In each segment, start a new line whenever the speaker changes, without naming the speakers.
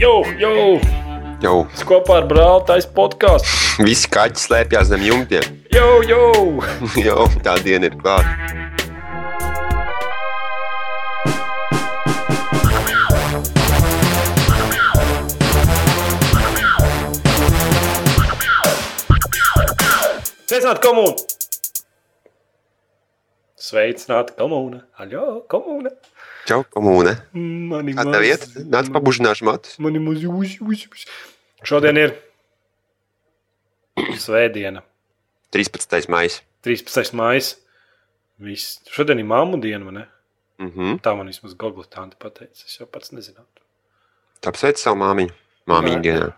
Jū, jū!
Jau
Es kopā ar brāli taisīju podkāstu.
visi kaķi slēpjas zem jumtiem.
Jū, jū!
Jau tā diena ir klāta.
Sveicināti komūna! Sveicināti komūna! Aļo, komūna!
Čau, komūne.
Mani
Kā tev iet? Nāc pabužināšu matus.
Mani maz jūs, jūs, jūs. Šodien ir Svētdiena,
13. maijs.
13. maija. Viss. Šodien ir mammu diena, vai ne?
Mhm.
Tā man vismaz Google tante pateica. Es jau pats nezinu.
Tāpēc sveic savu māmiņu. Māmiņu
Nē.
dienā.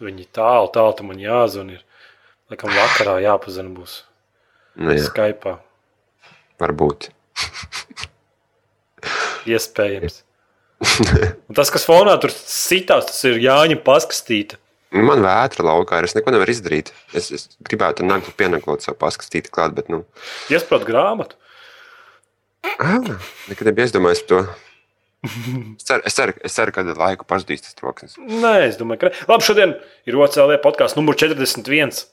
Viņi tālu, tālu tam man jāzvan. Ir. Laikam vakarā jāpazina būs
Nu, jā,
Skype.
varbūt.
Iespējams. Un tas, kas fonā tur sitās, tas ir Jāņa paskatīta.
Nu, Man vētra laukā ir. Es neko nevaru izdarīt. Es, es gribētu nākt pienākot savu paskatīt klāt, bet nu.
Iesprūst grāmatu.
Ah, nekad nebija aizdomājis par to. Es ceru, es ceru, es ceru ka ar laiku pazudīs tas troksnis.
Nē, es domāju, ka. ne. Labi, šodien ir OCLV podkāsts numur 41.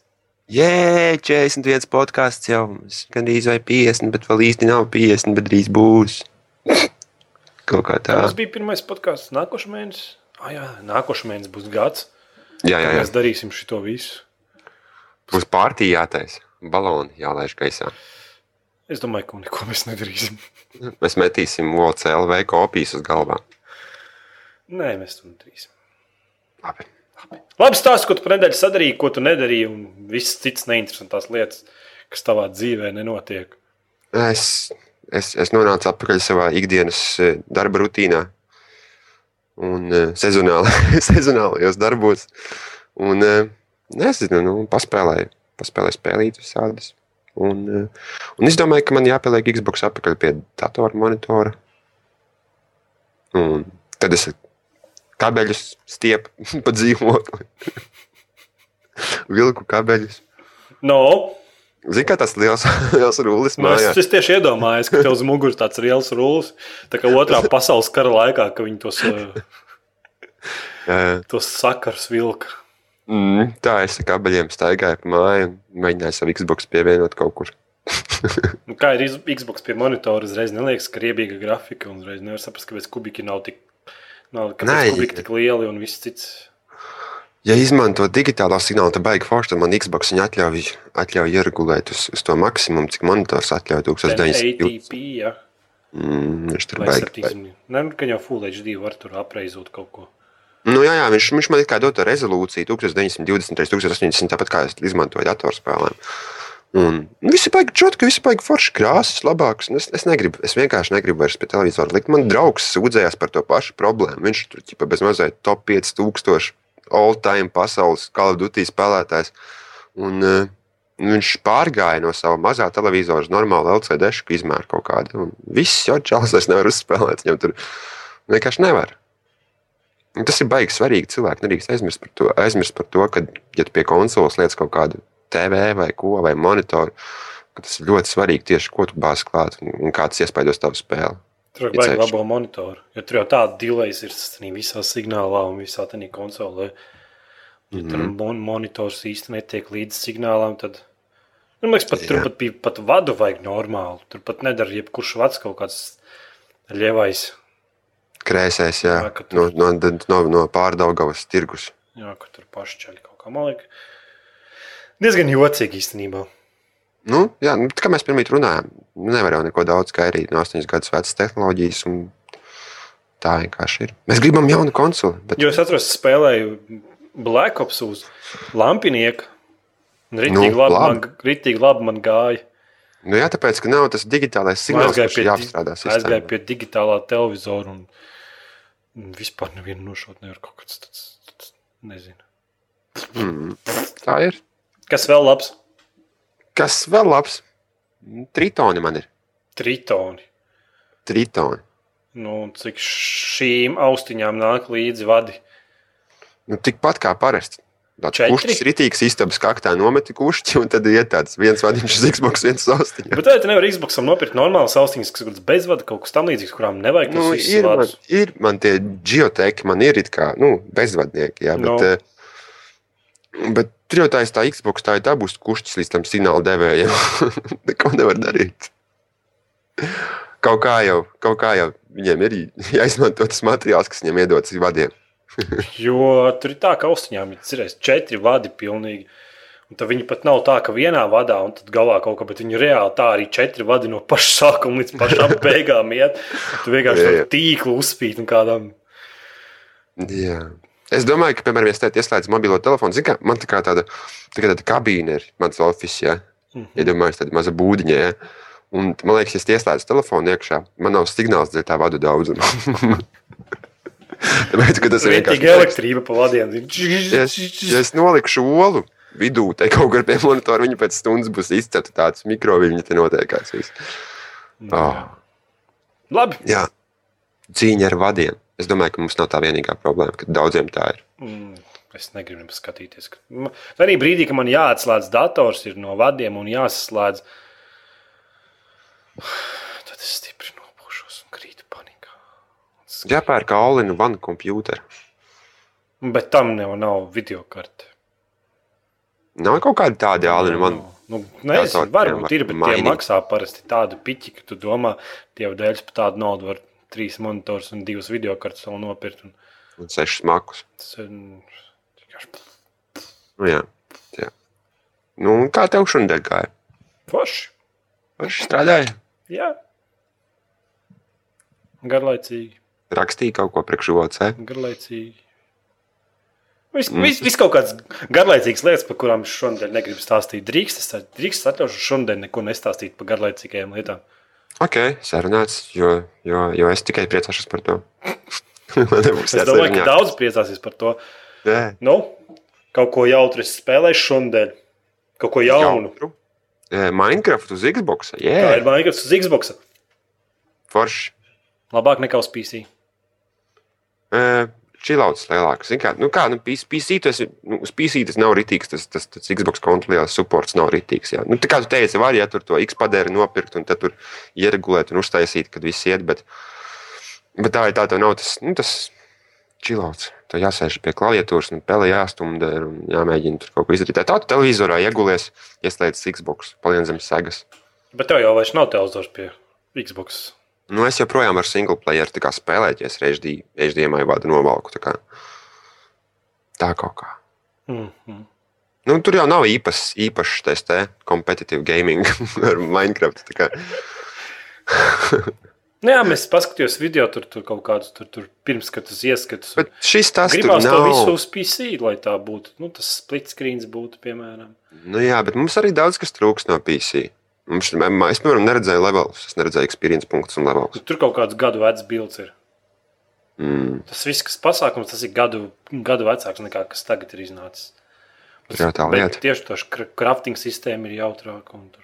Jē, 41 podkāsts jau mums gandrīz vai 50, bet vēl īsti nav 50, bet drīz būs. Kaut kā tā.
Tas bija pirmais podkāsts. Nākošais mēnesis. Ah, jā, nākošais mēnesis būs gads.
Jā, jā,
Jā,
jā.
mēs darīsim šo visu.
Būs pārtī jātais. Baloni jālaiž gaisā.
Es domāju, ka neko mēs nedarīsim.
Mēs metīsim OCLV kopijas uz galvā.
Nē, mēs to nedarīsim.
Labi.
Labi stāsts, ko tu par nedēļu sadarīji, ko tu nedarīji, un viss cits neinteresantās lietas, kas tavā dzīvē nenotiek.
Es, es, es nonācu atpakaļ savā ikdienas eh, darba rutīnā un eh, sezonāli- sezonālajos darbos. Un, eh, nezinu, nu, paspēlēju, paspēlēju spēlīt visādas. Un, eh, un es domāju, ka man jāpieliek Xbox atpakaļ pie datora monitora. Un tad es kabeļus stiepu pa dzīvokli. Vilku kabeļus.
No,
Zini, kā tas liels, liels rullis
Nu,
mājās.
es, es tieši iedomājos, ka tev uz muguras tāds liels rullis, tā kā otrā pasaules kara laikā, kad viņi tos, eh,
Jā, jā.
tos sakars vilka.
Mm, tā es ar kabeļiem staigāju pa māju un mēģināju savu Xbox pievienot kaut kur.
Nu, kā ir iz- Xbox pie monitora, uzreiz neliekas kriebīga grafika, un uzreiz nevar saprast, kāpēc kubiki nav tik, nav,
Nē,
kāpēc kubiki tik lieli un viss cits.
Ja izmanto digitālo signālu, tad baigi forši, tad man Xbox viņa atļauj, atļauj ieregulēt uz, uz to maksimumu, cik monitors atļauj 1920.
1080p, ja?
Mm, viņš tur
vai
baigi. baigi.
70. Nē, nu, ka jau Full HD var tur apreizot kaut ko.
Nu, jā, jā, viņš, viņš man ir kā dota rezolūcija 1920, 1080, tāpat kā es izmantoju datorspēlēm. Un visi baigi čotki, visi baigi forši krāsas, labākas. un Es, es, negribu, es vienkārši negribu vairs pie televizora likt. Man draugs sūdzējās par to pašu problēmu. Viņš tur ķipa bez mazliet top 5000 all-time pasaules Call of Duty spēlētājs. Un, eh, Viņš pārgāja no sava mazā televizora uz normālu LCD šu izmēru kaut kādu. un Viss jau čels vairs nevar uzspēlēt. Viņam tur vienkārši nevar. Un Tas ir baigi svarīgi. Cilvēki nedrīkst aizmirst par to, aizmirst par to ka, ja tu pie konsoles lietas kaut kādu TV vai ko vai monitoru, ka tas ir ļoti svarīgi tieši, ko tu bāzi klāt un, un kā tas iespaidos tavu spēli.
Tur vajag
Ieceļš.
labo monitoru, jo tur jau tāda delays ir sanī visā signālā un visā tajā konsolē. Ja mm. tur
Mhm.
mon monitors īstenībā netiek līdz signālam, tad nu, man liekas, pat, tur
Jā.
pat, bija- pat vadu vajag normālu. Tur pat nedara jebkurš vads kaut kāds ļevais.
Krēsēs, jā,
Jā, ka tu-
no, no, no, no pārdaugavas tirgus.
Jā, ka tur pašķaļ kaut kā. Man liekas, diezgan jocīgi īstenībā.
Nu, jā, nu, tā kā mēs pirmie runājām, nu, nevar jau neko daudz kairīt no 8 gadus vecas tehnoloģijas. un Tā vienkārši ir. Mēs gribam jaunu konsoli, bet
Jo es atceros, spēlēju Black Ops uz lampinieku. Ritīgi, nu,
Nu,
labi,
labi.
man, ritīgi labi man gāja.
nu, jā, tāpēc, ka nav tas digitālais signāls,
aizgāju
kas
pie,
ir
di-
jāapstrādā.
aizgāju
sistēmā.
pie digitālā televizora un, un vispār nevienu nošaut. Nevar kaut kāds tāds, tāds nezinu.
Mm. Tā ir.
Kas vēl labs?
Kas vēl labs? Nu, Tritoni man ir.
Tritoni.
Tritoni.
Nu, un cik šīm austiņām nāk līdzi vadi?
Nu, tikpat kā parasti. Tāds
Četri?
kušķis ritīgs, istabas kaktā nometi kušķi, un tad iet tāds viens vadiņš uz Xbox, viens austiņā.
Bet tā, tu nevari Xbox nopirkt normālas austiņas, kas ir bezvada, kaut kas tamlīdzīgs, kurām nevajag
Nu,
tos visus
ir, man,
vārdus.
ir man tie geoteki, man ir it kā nu, bezvadnieki, jā, bet,
Nu.
no. bet tur jau tā ir tā Xbox, tā ir dabūs kušķis līdz tam signāla devējiem. Neko nevar darīt. Kaut kā jau, kaut kā jau viņiem ir jāizmanto tas materiāls, kas viņiem iedots vadiem.
Jo tur ir tā, ka austiņām ir cirēs četri vadi pilnīgi. Un tad viņi pat nav tā, ka vienā vadā, un tad galā kaut kā, bet viņi reāli tā arī četri vadi no paša sākuma līdz pašām beigām iet. Tu vienkārši
Jā,
tādu
jā.
tīklu uzspīd un kādam.
Jā. Es domāju, ka, piemēram, ja es ieslēdzu mobilo telefonu, zinu, ka man tā kā tāda, tā kā tāda kabīne ir mans oficiāls. Ja?
Mhm.
Iedomājieties, tāda maza būdiņa. Ja? Un, man liekas, ja es ieslēdzu telefonu iekšā, man nav signāls, dēļ tā vadu daudzumu. Tāpēc, ka tas ir
Tikai
vienkārši.
elektrība pa vadiem.
Ja es, ja es nolikšu olu vidū, te kaut kur pie monitora, viņa pēc stundas būs izcepta tāds mikro, viņa te noteikās. viss.
Mm.
Oh,
Labi.
jā, cīņa ar vadiem. Es domāju, ka mums nav tā vienīgā problēma, ka daudziem tā ir.
Mm, Es negribu nemaz skatīties. ka- Ma- Arī brīdī, kad man jāatslēdz dators ir no vadiem un jāsaslēdz, tad es stipri nopūšos un krītu panikā.
Jāpērk Aulina vana kompjūtera.
Bet tam jau nav video karte.
Nav kaut kāda tāda Aulina vana.
Nu, nezinu,
Datoriem
varbūt ir, bet tie
mainīt.
maksā parasti tādu piķi, ka tu domā, tie jau dēļ par tādu naudu var trīs monitors un divas video kartes vēl nopirkt. Un
un sešas makus.
tas ir mm, vienkārši
Nu, jā, jā. Nu, un kā tev šodien gāja?
forši.
Viņš strādāja,
Jā. Garlaicīgi.
rakstīja kaut ko priekš OC.
Garlaicīgi. Viss vis, vis kaut kāds garlaicīgs lietas, par kurām es šodien negribu stāstīt. Drīkst, es tā- drīkst es atļaušu šodien neko nestāstīt par garlaicīgajām lietām.
Ok, sarunāts, jo, jo, jo es tikai priecāšos par to. Man nebūs
Es domāju, ka daudz priecāsies par to.
daudz
Nu, kaut ko jautru es spēlēju šodien. Kaut ko jaunu.
jaunu. Minecraft uz Xbox.
Jā. Tā
Jā,
ir Minecraft uz Xbox.
forši.
Labāk nekā uz PC.
Čilauts lielāks. Zin Kā, nu kā, nu, PC, PC tas, nu, uz PC tas nav rītīgs, tas, tas, tas Xbox kontrolieris supports nav rītīgs. Jā. Nu, tā kā tu teici, var, ja tur to X padēri nopirkt un tad tur ieregulēt un uztaisīt, kad viss iet, bet, bet tā ir tā, tev nav tas, nu, tas čilauts. Tev jāsēž pie klaviatūras un pele jāstumda un jāmēģina tur kaut ko izdarīt. Tā tu televizorā iegulies, ieslēdz Xbox, palien zem segas.
Bet tev jau vairs nav telzors pie Xbox.
Nu, es joprojām ar single playeru tā kā spēlēju, ja es HD, HD vadu novalku. Tā, kā. tā kaut kā.
Mm -hmm.
Nu, tur jau nav īpas, īpašs tas te kompetitīvs gaming ar Minecraft. tā kā.
Nu Jā, mēs paskatījāmies video, tur, tur kaut kādus tur, tur pirmskatus, ieskatus.
Bet šis tas tur
Gribās to visu
nav.
uz PC, lai tā būtu. Nu, tas split screen būtu, piemēram.
Nu, jā, bet mums arī daudz kas trūks no PC. Mums, es, piemēram, neredzēju levelus, es neredzēju experience punktus un levelus.
Tur kaut kāds gadu vecs bilds ir.
Mm,
Tas viss, kas pasākums, tas ir gadu, gadu vecāks nekā kas tagad ir iznācis.
tur jau tā
Bet
lieta.
tieši tā kra- crafting sistēma ir jautrāka. un Tur,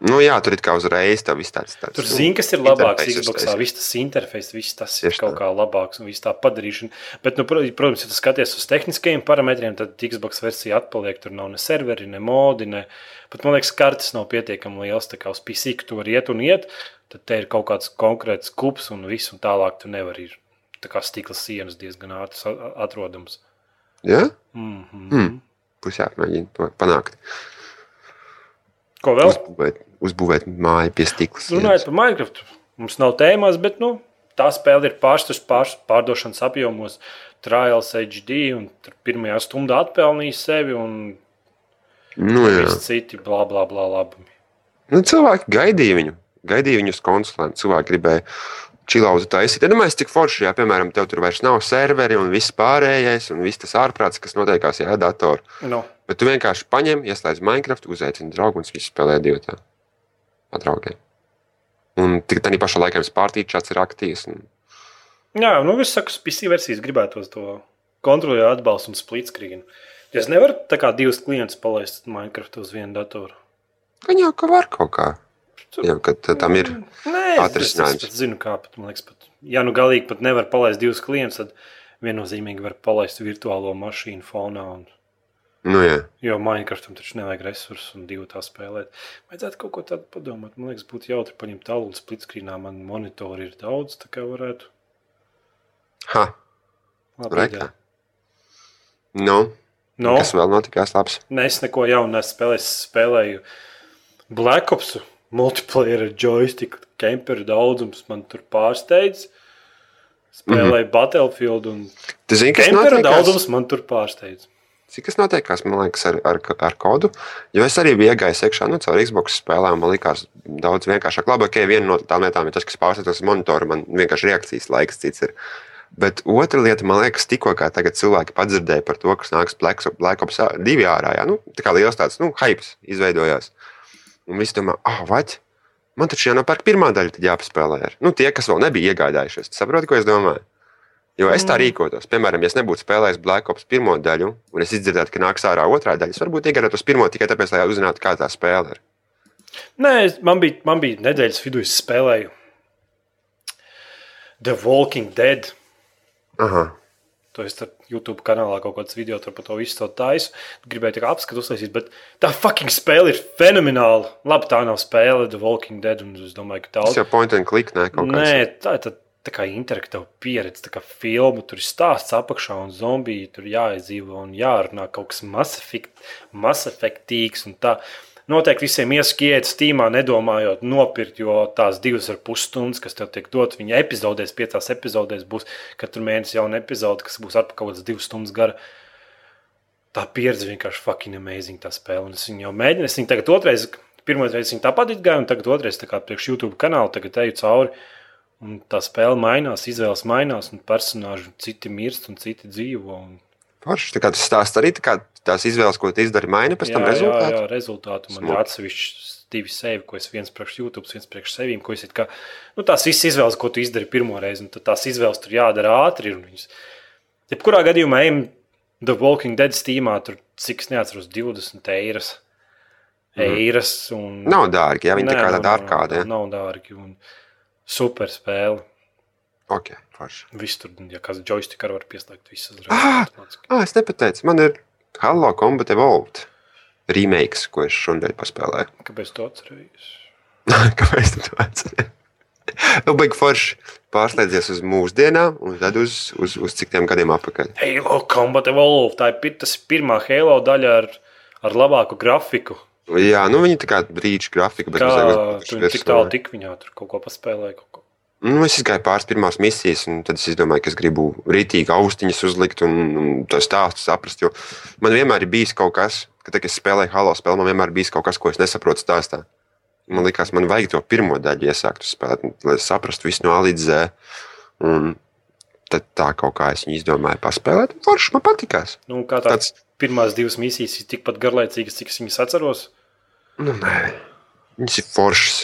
Nu, jā, tur ir kā uzreiz tā viss tāds. tāds
tur
nu,
zina, kas ir labāks.
interfejs
Xbox,
uzreiz.
viss tas interfejs, viss tas ir
Tieši
kaut
tā.
kā labāks un viss tā padarīšana. Bet, nu, pro- protams, ja tu skaties uz tehniskajiem parametriem, tad Xbox versija atpaliek. Tur nav ne serveri, ne modi. Ne... Pat man liekas, kartes nav pietiekami liels. Tā kā uz PC ka tu vari iet un iet, tad te ir kaut kāds konkrēts kups un viss, un tālāk tu nevari. ir Tā kā stikla sienas diezgan ātri sa- atrodams.
Jā,
Mm -hmm.
Hmm. būs jāmēģina to panākt.
Ko vēl?
Uzbūvēt, uzbūvēt māju pie stikla.
Runājot par Minecraft, mums nav tēmās, bet nu, tā spēle ir pārstāvs pār, pārdošanas apjomos, trials HD, un tur pirmajā stundā atpelnīja sevi un
Nu, jā.
viss citi blā, blā, blā, labi.
Nu, cilvēki gaidīja viņu, gaidīja viņu uz konsulēm. Cilvēki gribēja čilauzi taisīt. Es domāju, cik forši, ja, piemēram, tev tur vairs nav serveri un viss pārējais, un viss tas ārprāts, kas notiekās jā, datorā.
Nu,
Bet tu vienkārši paņem, ieslēdz Minecraft, uzaicini draugu un viņš spēlē divu tā ar draugiem. Un tik tādā pašā laikā jums pārtīk čats ir aktīvs. Un...
jā, nu es saku, PC versijas gribētos to kontrolieru atbalstu un split screen. Es nevaru tā kā divus klientus palaist Minecraft uz vienu datoru.
Gan jau ka var kaut kā.
Tu-
Jā, kad tā- tam ir.
Nē, es-
atrisinājums.
Es, es pat zinu, kā pat, man liekas, pat, ja nu galīgi pat nevar palaist divus klientus, tad viennozīmīgi var palaist virtuālo mašīnu fonā. Un...
Nu, jā.
Jo Minecraftam taču nevajag resursus un divu tā spēlēt. Vajadzētu kaut ko tādu padomāt. Man liekas, būtu jautri paņemt tālu un splitskrīnā. Man monitori ir daudz, tā kā varētu.
Ha,
Labi,
rekā. Nu,
No,
Kas vēl notikās labs?
ne, es neko jaunu nespēlēju. Es spēlēju Black Ops, multiplayer ar joystick, kemperu daudzums man tur pārsteidz. Spēlēju mm
Mhm.
-hmm. Battlefield un
Tu zini, kas
kemperu
notiekās?
daudzums man tur pārsteidz.
Cik tas notiekās, man liekas, ar, ar, ar kodu? Jo es arī biju iegājis iekšā, nu, caur Xbox spēlēm, man liekas, daudz vienkāršāk. Labi, ok, viena no tām lietām ir tas, kas pārstāvjas uz monitora, man vienkārši reakcijas laiks cits ir. Bet otra lieta, man liekas, tikko kā tagad cilvēki padzirdēja par to, kas nāks Black Ops- Black Ops 2 ārā, jā, nu, tā kā liels tāds, nu, hypes izveidojās. Un visi domā, ah, vai? Man taču jānopērk pirmā daļa, tad jāpaspēlē. ar." Nu, tie, kas vēl nebija iegādājušies, saproti, ko es domāju? Jo es tā
Mm.
rīkotos. Piemēram, ja es nebūtu spēlējis Black Ops pirmo daļu, un es dzirdētu, ka nāks ārā otrā daļa, es varbūt iegādātos pirmo tikai tāpēc, lai uzzinātu, kā tā spēle ir.
Nē, es- man bija, man bija nedēļas vidū, es spēlēju The Walking Dead.
Aha.
To es tur YouTube kanālā kaut kādas video tur par to visu to taisu. Gribēju tikai apskatu uzlaisīt, bet tā fucking spēle ir fenomenāla. Labi, tā nav spēle The Walking Dead, un es domāju, ka daudz.
Tas jau point and click, nē, kaut kas
Nē, tā ir tā, tā kā interaktīva pieredze, tā kā filma. Tur ir stāsts apakšā, un zombiji tur jāizdzīvo un jārunā kaut kas masefekt- masefektīgs. un tā. Noteikti visiem ieskiet stīmā, nedomājot nopirkt, jo tās divas ar pus stundas, kas tev tiek dotas, viņa epizodēs, piecās epizodēs būs katru mēnesi jauna epizode, kas būs apmēram kaut kādas divas stundas gara. Tā pieredze vienkārši fucking amazing, tā spēle. Un es viņu jau mēģināju, es viņu tagad otrais, pirmais reizes viņa tāpat gāja, un tagad otrais, tā kā priekš YouTube kanāla, tagad eju cauri. Un tā spēle mainās, izvēles mainās, un personāļi citi mirst, un citi dzīvo. Un...
Forši, tā kā tas stāsts arī tā kā tās izvēles, ko tu izdari, maina pēc tam
Jā,
rezultātu.
jā, rezultātu man ir
Smuki.
atsevišķi divi sevi, ko es viens priekš YouTube, viens priekš sevīm. ko es it Kā, nu, tās visas izvēles, ko tu izdari pirmo reizi, un tad tās izvēles tur jādara ātri. un Viņas... Jebkurā gadījumā, ejam The Walking Dead stīmā, tur cik es neatceros, 20 eiras.
Mhm.
eiras un...
Nav dārgi, ja viņi
Nē,
tā kā
nav-
tāda ārkārtē.
Nav, nav dārgi. Un... Super spēle.
Ok, forši.
Viss tur, ja kāds joystick ar var pieslēgt, viss uzreiz.
Ah!
automātiski.
Ah, es nepateicu, man ir Halo Combat Evolved remakes, ko es šodien paspēlēju.
Kāpēc tu atceries?
Kāpēc tu to atceries? Nu, baigi forši pārslēdzies uz mūsdienām, un tad uz, uz, uz cik tiem gadiem atpakaļ.
Halo Combat Evolve. Tā ir pir- tas ir pirmā Halo daļa ar, ar labāku grafiku.
Jā, nu viņi tā kā brīdī grafika, bet
Kā
mazliet uzbūvējuši
tur tik
virsmu,
tālu
vai?
tik viņā tur kaut ko paspēlēja. Kaut ko.
Nu, es gāju pāris pirmās misijas, un tad es izdomāju, ka es gribu rītīgi austiņas uzlikt un, un to stāstu saprast. Jo man vienmēr ir bijis kaut kas, ka, tā, kad es spēlēju halo spēli, man vienmēr ir bijis kaut kas, ko es nesaprotu stāstā. Man liekas, man vajag to pirmo daļu iesākt uz spēlēt, un lai es saprastu visu no A līdz Z. Un tad tā kaut kā es viņu izdomāju paspēlēt. Forši man patīkās.
Nu, kā tā,
Tāds,
Tāds... Pirmās divas misijas ir tikpat garlaicīgas, cik es viņas atceros.
nu, nē, viņas ir foršas.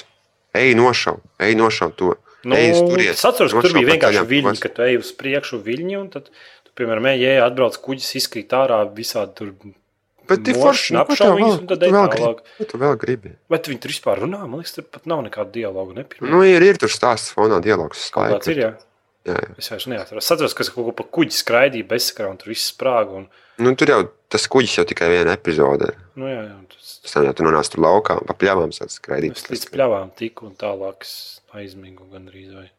Ej, nošauj, ej, nošauj to.
Nu,
Ej, uz turieni.
es atceros, ka tur
Nošauj
bija
pa
vienkārši
taļām,
viļņi,
vas-
ka tu ej uz priekšu viļņi, un tad, tu, piemēram, ej, ej, atbrauc kuģis, izkrīt ārā visādi tur.
Bet ir
mošana,
forši. Nu, ko tev
apšauj viņus,
vēl-
un
ko
tad
tu
ej
vēl
tālāk.
gribi? Ko tu vēl gribi?
Vai tu viņi tur vispār runā? Man liekas, tur pat nav nekāda dialoga. Ne? Pirmie
Nu, ir, ir tur stāsts fonā, dialogs.
Kaut kāds ir, jā.
Jā, jā.
Es vairs neatceros. Es atceros, ka es kaut ko pa kuģi skraidīju bezsakrā un tur viss sprāga. Un,
Nu, tur jau tas kuģis jau tikai viena epizode. ir.
nu, jā, jā, tas,
Pēc tam jau tur nonāca tur laukā, pa pļāvām sāc skraidīt.
es līdz pļāvām tiku un tālāk es aizmigu gandrīz. Vai.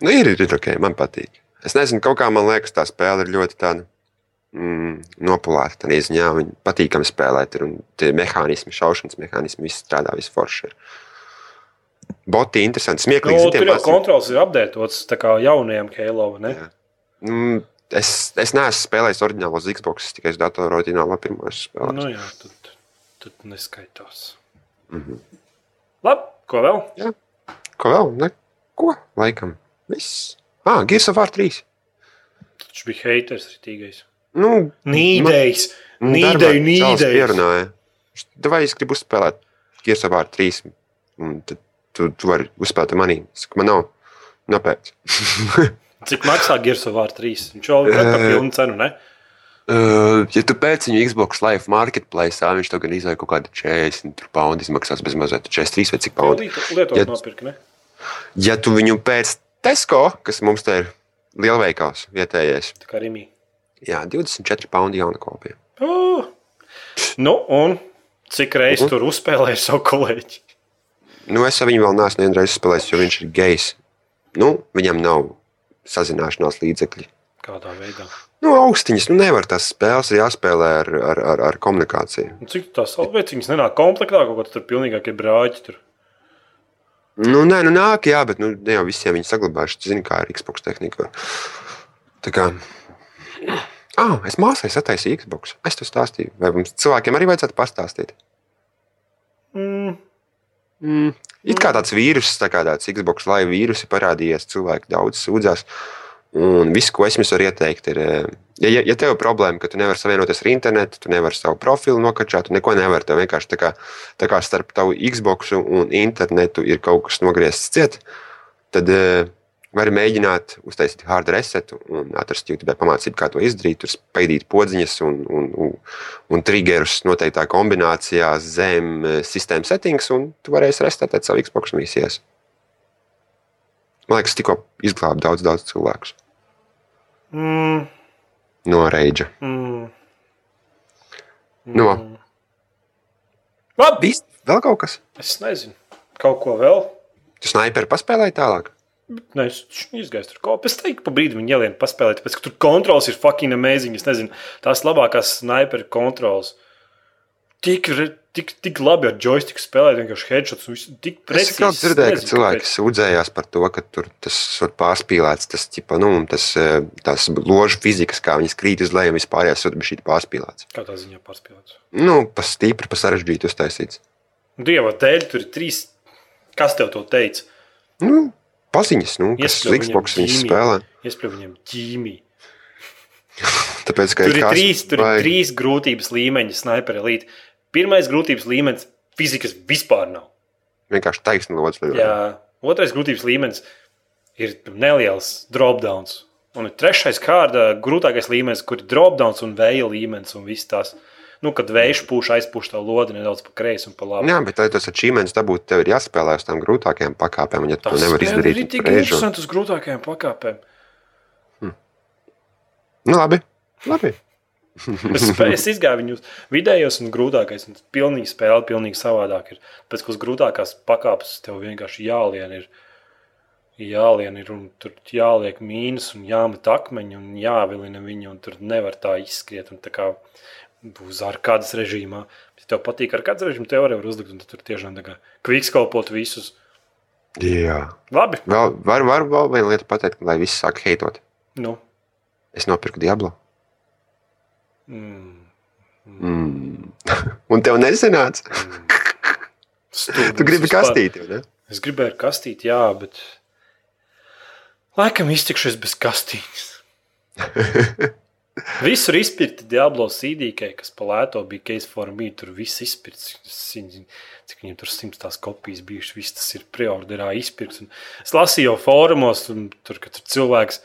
Nu, ir, ir, ir ok, man patīk. Es nezinu, kaut kā man liekas, tā spēle ir ļoti tāda. Mm, Nopulēta tādā ziņā, viņa patīkami spēlēt. Ir, un tie mehānismi, šaušanas mehānismi, viss strādā, viss forši. Ir. Boti interesanti,
Nu,
smieklīgi. zini,
tur
tiem
jau
maziem-
kontrols ir apdētots tā kā jaunajam Halo. vai Ne?
Jā. Mm, Es, es neesmu spēlējis oriģinālo Xbox, tikai uz datora oriģinālā pirmā spēlē.
Nu, jā, tad, tad neskaitās.
Mm -hmm.
Labi, ko vēl?
Ko vēl? Neko, laikam. Viss. Ah, Gears of War 3.
Tas bija haters ritīgais.
Nu,
Nīdējs!
man-
nīdei,
darbā čalis
nīdei.
pierunāja. Vai es gribu uzspēlēt Gears of War 3? Un tad tu, tu vari uzspēlēt ar mani. Es saku, man nav. Nopēc.
Cik maksā Gears of War 3? Viņš jau ir par
Eh.
pilnu cenu, ne?
Uh, ja tu pēc viņu Xbox Live Marketplace, viņš to gan izvēlēja kaut kādu 40 poundu izmaksās bez mazliet 43 vai cik
Jau
poundu.
lietot
Ja-
nopirka, ne?
Ja tu viņu pēc Tesco, kas mums te ir lielveikals vietējais,
Tā kā Rimī.
jā, 24 poundu jauna kopija.
Oh! Nu, un cik
Mhm.
reizes tur uzspēlēju savu kolēģi?
Nu, es ar viņu vēl neesmu vienreiz spēlējis, jo viņš ir gejs. Nu, viņam nav sazināšanās līdzekļi.
Kādā veidā?
Nu, augstiņas, nu, nevar tās spēles ir jāspēlē ar, ar, ar, ar komunikāciju.
Nu, cik tās alveciņas nenāk komplektā, kaut kā tur pilnīgākie brāļi tur.
Nu, nē, nu, nāk, jā, bet nu, ne jau visiem viņi saglabājuši. Zini, kā ar Xbox tehniku. Tā kā. Ah, es māsai sataisīju Xbox. Es to stāstīju. Vai mums cilvēkiem arī vajadzētu pastāstīt?
Mm,
Mm. It kā tāds vīrus, tā kā tāds Xbox live vīrus ir parādījies, cilvēki daudz sūdzās. Un viss, ko es jums varu ieteikt, ir, eh, ja, ja- ja tev ir problēma, ka tu nevari savienoties ar internetu, tu nevari savu profilu nokačāt, tu neko nevari. Tev vienkārši tā kā, tā kā starp tavu Xbox un internetu ir kaut kas nogriezts ciet, tad eh, vari mēģināt uztaisīt hard resetu un atrast YouTube pamācību, kā to izdarīt. Tur spaidīt podziņas un, un, un, un triggerus noteiktā kombinācijā zem eh, sistēmas settings, un tu varēsi restartēt savu Xbox misijas. Man liekas, tikko izglāba daudz, daudz cilvēku
mm,
no reģa.
mm,
No.
mm. Labi,
Bija vēl kaut kas?
es nezinu. Kaut ko vēl.
Tu snaiperi paspēlēji tālāk?
Nē, es izgaisu tur kaut ko. Es teiktu, pa brīdim viņa ielienu paspēlēt, tāpēc, ka tur kontrols ir fucking amazing. Es nezinu, tās labākās sniperu kontrols. Tik, re- tik, tik labi ar joystick spēlēt, vienkārši headshots. un viss Tik
Es
precīzi.
tikai dzirdēju, ka
nezinu,
cilvēki sūdzējās par to, ka tur tas ir pārspīlēts, tas tipa, nu, un tas, eh, tās ložu fizikas, kā viņas krīt uz leju, un vispār jāsūta bija šī pārspīlēts.
kāpēc. Kādā ziņā pārspēlēts.
Nu, pa stipri, pa sarežģīti uztaisīts.
Dieva dēļ, tur ir trīs. Kas tev to teica?
Nu, paziņas, nu, kas
Iespļauj viņam
Xbox viņas
ģīmiju.
spēlē.
Iespļauj viņam ķīmiju.
Tāpēc, ka
Tur ir
kāds
trīs, tur ir
vajag-
trīs grūtības līmeņi, sniper elite. Pirmais grūtības līmenis - fizikas vispār nav.
vienkārši taisnu
Jā.
lodziņu lidojumā.
Otrais grūtības līmenis ir neliels dropdowns. Un ir trešais kārta grūtākais līmenis, kur ir dropdowns un vēja līmenis un viss tās. Nu, kad vējš pūš, aizpūš tā lodi nedaudz pa kreisi un pa labi.
Jā, bet, lai tos achievements dabūtu, tev ir jāspēlē uz tām grūtākajām pakāpēm. un Ja tu to
Tas
nevar
spēle
izdarīt,
ir
tad
tik
reizē.
interesanti uz grūtākajām pakāpēm.
Nu, labi. labi.
Es, spē- es izgāju viņu vidējos un grūtākais. Un pilnīgi spēle, pilnīgi savādāk. Ir. Pēc tam, kas grūtākās pakāpes, tev vienkārši jālien ir. Jālien ir un tur jāliek mīnus, un jāmet akmeņi, un jāvilina viņi, un tur nevar tā izskriet. Un tā kā būs ar kādas režīmā. Ja tev patīk ar kādas režīmu, tev arī var uzlikt, un tu tur tiešām tā kā kviks kalpot visus.
Jā.
Labi,
Vēl, var, var vēl vienu lietu pateikt, lai viss sāk heitot.
nu.
Es nopirku Diablo.
Mm.
Mm. un tev nesanāca.
mm. Stulbums
Tu gribi
vispār.
kastīti. vai Ne?
Es gribēju kastīt, jā, bet laikam iztikšos bez kastītes. Visur izpirkti Diablo sīdīkai, kas pa lēto bija case for me. Tur viss izpirkts. Es nezinu, Cik viņiem tur simts tās kopijas bijušas, viss tas ir preorderā izpirkts. Un es lasīju jau fórumos, un tur, ka tur cilvēks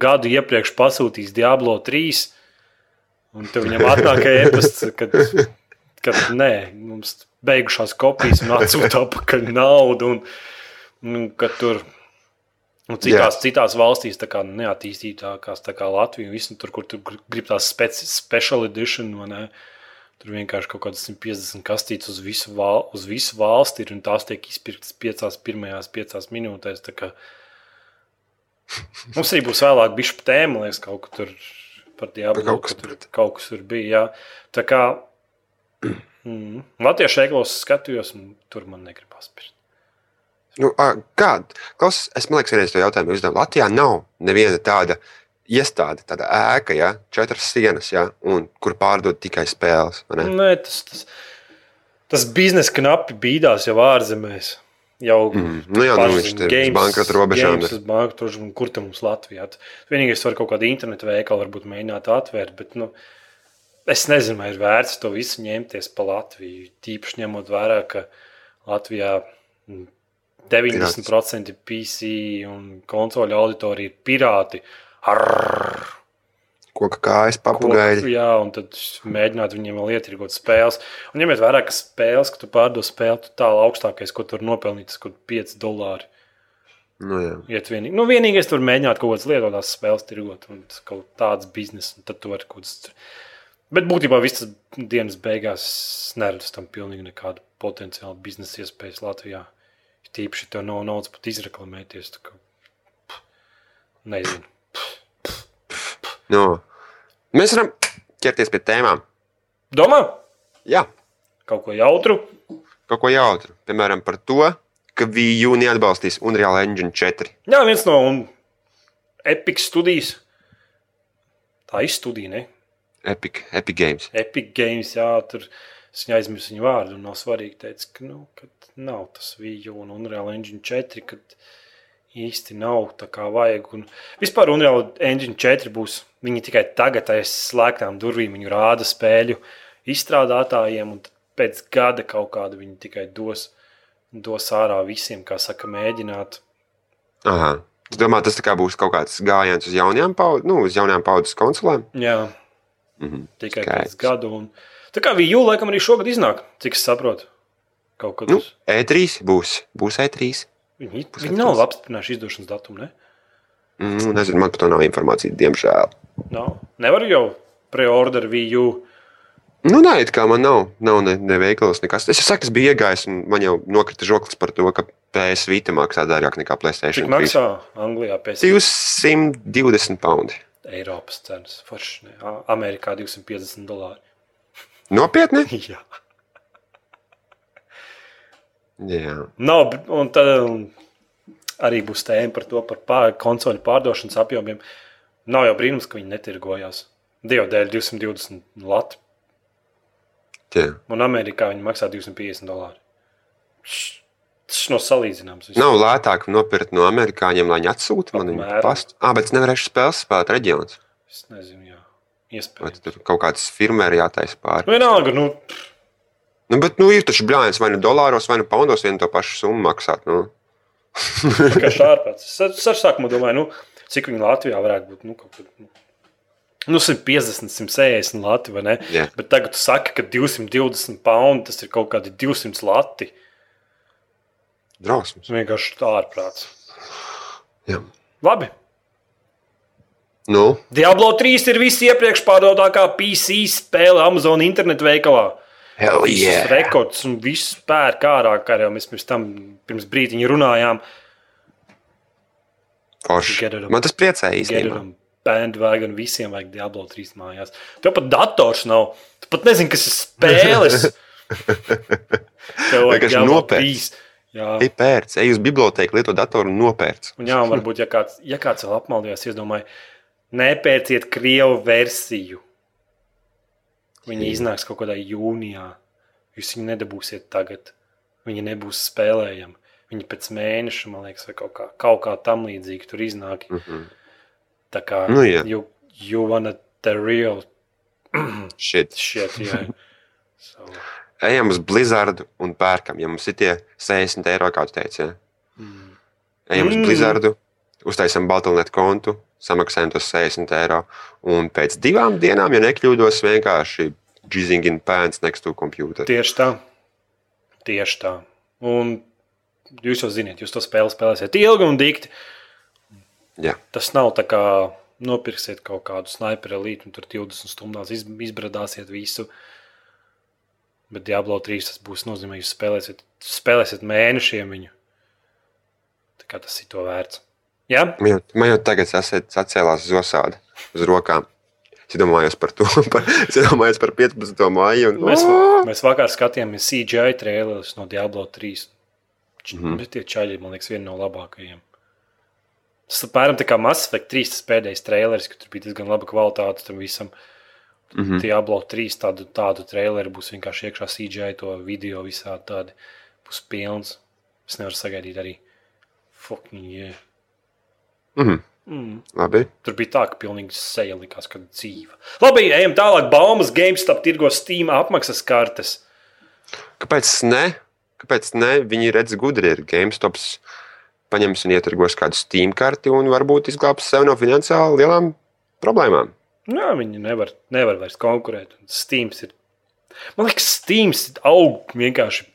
gadu iepriekš pasūtīs Diablo 3. Un tur viņam atnāk ēpasts, kad, kad nē, mums beigušās kopijas un atsūta atpakaļ naudu. Un, un, ka tur un citās, citās valstīs, tā kā neattīstītākās, tā kā Latvija, un visu, tur, kur tur gr- grib tās speci- special edition, vai ne? Tur vienkārši kaut kādas 150 kastītes uz visu, val, uz visu valsti ir, un tās tiek izpirktas piecās, pirmajās piecās minūtēs. tā kā- Mums arī būs vēlāk bišķi par tēmu, man liekas, kaut kur tur par diablu,
Kaut kas
ka tur,
pret.
kaut kas tur bija. Jā. Tā kā mm, Latviešu eiklos skatījos, un tur man negribas pirkt.
Nu, ā, kā? Klaus, es domāju, ka reiz to jautājumu uzdevu. Latvijā nav neviena tāda iestāde, tāda ēka, ja? četras sienas, ja? un, kur pārdod tikai spēles. vai ne?
Nē, tas, tas, tas biznesa knapi bīdās jau ārzemēs. Jau
Mm. Nu, jā, nu,
pazīst
viņš tur
games,
uz bankrota robežām
games
ir.
uz bankrota robežām, un kur tam mums Latvijā? Tu- Vienīgais, var kaut kādu internetu veikalu varbūt mēģināt atvērt, bet nu, es nezinu, vai ir vērts to visu ņemties pa Latviju. Tīpaši ņemot vērā, ka Latvijā mm, 90% PC un konsoļu auditorija ir pirāti. Arr!
Koka kājas,
Ko-
papugaidi.
Jā, un tad mēģināt viņiem vēl ietirgot spēles. Un ņemiet vērā, ka spēles, ka tu pārdod spēli, tu tālu augstākais, ko tur nopelnīt, tas kaut kāds 5 dolāri.
Nu, jā.
Iet vienīgi. Nu, vienīgais tur mēģināt kaut kādas lietotās spēles tirgot un tas kaut kāds tāds bizness, un tad tu vari kaut kāds Bet būtībā viss tas dienas beigās neredz tam pilnīgi nekādu potenciālu biznesa iespējas Latvijā. Tīpaši tev nav naudas pat izreklamēties. tā kā, pff, Nezinu.
No. Nu. Mēs varam ķerties pie tēmām.
Domā
Jā,
kaut ko jautru?
kaut ko jautru. Piemēram, par to, ka VU neatbalstīs Unreal Engine 4.
Jā, viens no un Epic studijas. Tā izstudija, ne?
Epic, Epic Games.
Epic Games, jā, tur es viņu aizmirsu viņu vārdu. un Nav svarīgi, teica, ka, nu, kad nav tas VU un Unreal Engine 4, kad īsti nav tā kā vajag. Un vispār Unreal Engine 4 būs, viņi tikai tagad aiz slēgtām durvīm viņu rāda spēļu izstrādātājiem, un tad pēc gada kaut kādu viņi tikai dos, dos ārā visiem, kā saka, mēģināt.
Aha. Es domāju, tas tā kā būs kaut kāds gājiens uz jaunajām, paud nu, uz jaunajām paudzes konsolēm.
Jā,
Mhm.
tikai
Skaidrs.
pēc gada. Un... Tā kā VU laikam arī šogad iznāk, cik es saprotu. Kaut kad
Nu,
uz-
E3 būs. Būs E E3.
Viņi,
Pusē
viņi nav
tās.
apstiprinājuši izdošanas datumu. Ne?
Mm, nezinu, man par to nav informācijas, diemžēl.
Nav. Nevar jau preorder VU.
Nu, nē, it kā man nav, nav ne, ne veikals, nekas. Es jau saku, es biju iegājis, un man jau nokrita žoklis par to, ka PS Vita maksā dārgāk nekā
Cik
Playstation.
maksā Anglijā pēc
220 pounds.
Eiropas cenas? Forši, ne? Ā, Amerikā 250 dolāri.
Nopietni?
Jā.
Jā.
Nav, b- un tad um, arī būs tēma par to, par pār, konsoļu pārdošanas apjomiem. Nav jau brīnums, ka viņi netirgojās. Dieva dēļ 220 lat,
Jā.
un Amerikā viņi maksā 250 dolāri. Šš, Tas nav salīdzināms. vispār.
Nav lētāk nopirkt no amerikāņiem, lai viņi atsūta man viņu
Apmēram.
pastu. Ah, bet es nevarēšu spēles spēlēt reģionus.
Es nezinu, jā.
Vai
Iespējams.
tur kaut kāds firmēr jātaisa pāri?
Nu, vienalga, nu,
Nu, bet nu, ir taču blāņas vai nu dolāros, vai nu poundos vienu to pašu summu maksāt. Nu.
kā šāpēc. Es ar sākumā domāju, nu, cik viņi Latvijā varētu būt. Nu, kaut kur, nu, nu 150, 160 lati, vai ne?
Jā.
Bet tagad tu saki, ka 220 pounds tas ir kaut kādi 200 lati.
Drausmas.
Tas vienkārši tā ārprāts.
Jā.
Labi.
Nu,
Diablo 3 ir visi iepriekš pārdotākā PC spēle Amazon internetu veikalā.
hell
Visus yeah.
yeah!
rekords un viss pērk ārā, kā jau mēs pirms tam pirms brīdiņa runājām.
Forši.
Get it up.
Man tas priecēja īstenībā.
Gerudam, bandwagon, visiem vajag Diablo 3 mājās. Tev pat dators nav. Tu pat nezini, kas ir spēles. Tev vajag
Vienkārši
Diablo
nopērc.
3. Jā.
Ej, pērc, ej uz biblioteku, lieto datoru un nopērc.
Un jā, un varbūt, ja kāds, ja kāds vēl apmaldījās, iedomājies, nepērciet krievu versiju. Viņa
Jā.
iznāks kaut kādā jūnijā. Jūs viņu nedabūsiet tagad. Viņa nebūs spēlējama. Viņa pēc mēneša, man liekas, vai kaut kā, kaut kā tam līdzīga tur iznāk.
Mm -hmm.
Tā kā
Nu, jā.
you, you wanna the real
Šit.
shit. Yeah. so,
Ejam uz Blizzardu un pērkam, ja mums ir tie 60 eiro, kā tu teici. Ja?
mm.
Ejam mm.
Mm.
uz Blizzardu, uztaisam Baltonet kontu, samaksājam tos 60 eiro. Un pēc divām dienām, ja nekļūdos, vienkārši jizzing in pants next to computer.
Tieši tā. Tieši tā. Un jūs jau zināt, jūs to spēli spēlēsiet ilgi un dikti.
Jā.
Tas nav tā kā nopirksiet kaut kādu sniperu elīti un tur 20 stundās iz- izbradāsiet visu. Bet Diablo 3 tas būs nozīmē, jūs spēlēsiet, spēlēsiet mēnešiem viņu. Tā kā tas ir to vērts. Jā,
Man jau, man jau tagad sasē- sacēlās zosāde uz rokām. Es domāju par to, par, es domāju par 15. māju. Un,
mēs,
Ā!
mēs vakar skatījāmies CGI trailerus no Diablo 3.
Mhm.
Mm. Bet tie čaļi, man liekas, viena no labākajiem. Tas apmēram tā kā Mass Effect 3 tas pēdējais trailers, kur tur bija diezgan laba kvalitāte tam visam.
Mhm.
Diablo 3 tādu, tādu traileru būs vienkārši iekšā CGI, to video visādi tādi būs pilns. Es nevaru sagaidīt arī. Fucking, yeah.
Mhm.
mm.
Labi.
Tur bija tā, ka pilnīgi seja likās, ka dzīva. Labi, ejam tālāk. Baumas GameStop tirgo Steam apmaksas kartes.
Kāpēc ne? Kāpēc ne? Viņi redz gudri, ir GameStops. Paņems un ieturgos kādu Steam karti un varbūt izglābs sev no finansiāli lielām problēmām.
Jā, viņi nevar, nevar vairs konkurēt. Un Steams ir. Man liekas, Steams aug vienkārši.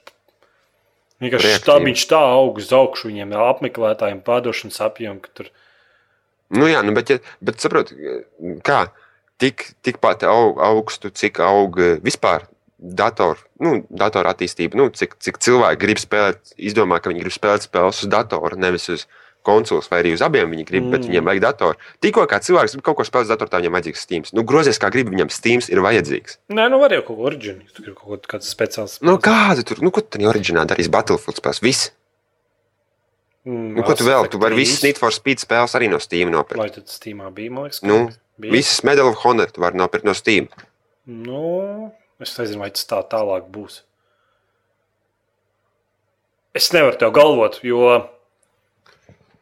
Vienkārši
Reaktīvi.
štabiņš tā aug uz augšu viņiem apmeklētājiem, pārdošanas apjomam, ka tur
Nu, jā, nu, bet, ja, bet saprotiet, kā tik, tikpat aug, augstu, cik aug eh, vispār datoru nu, dator attīstība. Nu, cik, cik cilvēki grib spēlēt, izdomā, ka viņi grib spēlēt spēles uz datora, nevis uz konsoles, vai arī uz abiem viņi grib, mm. bet
Mm.
viņiem vajag datoru. Tikko kā cilvēks grib kaut ko spēlēt uz datora, tā viņam vajadzīgs Steam. Nu, grozies kā grib, viņam Steam ir vajadzīgs.
Nē, nu var jau kaut ko originu. Tu gribi kaut ko tādu speciālu.
Nu, kāda tur, nu, ko tur oriģināli darīs Battlefield spēles? Viss. Nu, ko tu vēl? Tu vari visas Need for Speed spēles arī no Steam nopirkt.
Mm, Lai tad Steamā bija, man liekas,
Nu,
kaut kas bija.
Visas Medal of Honor tu vari nopirkt no Steam.
Nu, es nezinu, vai tas tā tālāk būs. Es nevaru tev galvot, jo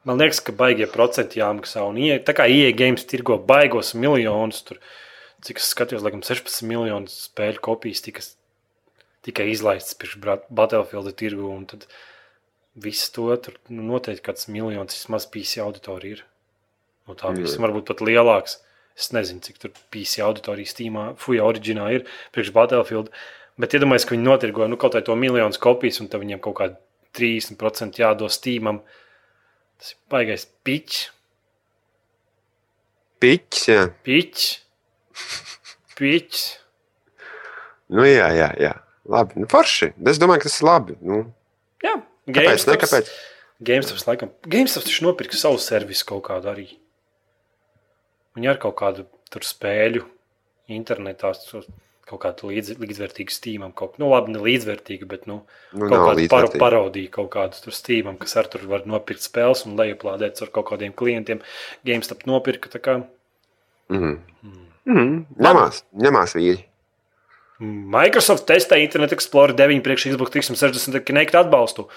man liekas, ka baigie procenti jāmaksā. Un ie- tā kā IE games tirgo baigos miljonus, tur, cik es skatījos, laikam 16 miljonus spēļu kopijas tika, tikai izlaistas pirms Brat- Battlefielda tirgu. Un tad viss to tur nu, noteikti kāds miljons vismaz PC auditorija ir. No tā
Mm.
visam varbūt pat lielāks. Es nezinu, cik tur PC auditorija stīmā, fuja oriģinā ir priekš Battlefield. Bet iedomājieties, ka viņi notirgoja nu, kaut kādu miljonus kopijas, un tad viņiem kaut kāda 30% jādod stīmam. Tas ir baisais pičs,
Piķis, jā.
pičs, pičs.
Nu, jā, jā, jā. Labi, nu, forši. Es domāju, ka tas ir labi. Nu,
Jā,
kāpēc? Ne, kāpēc?
GameStops laikam. GameStops taču nopirka savu servisu kaut kādu arī. Viņi ar kaut kādu tur spēļu internetā so- kaut kādu līdz, līdzvērtīgu stīmam. Kaut, nu, labi, ne līdzvērtīgu, bet nu,
Nu,
kaut
nav
kādu paro,
līdzvērtīgi.
parodiju kaut kādu tur stīmam, kas ar tur var nopirkt spēles un lejuplādēt ar kaut kādiem klientiem. GameStop nopirka tā kā
Mm.
Hmm.
Mm. Ņemās, ņemās vīri.
Microsoft testē Internet Explorer 9 priekš Xbox 360 Kinect atbalstu.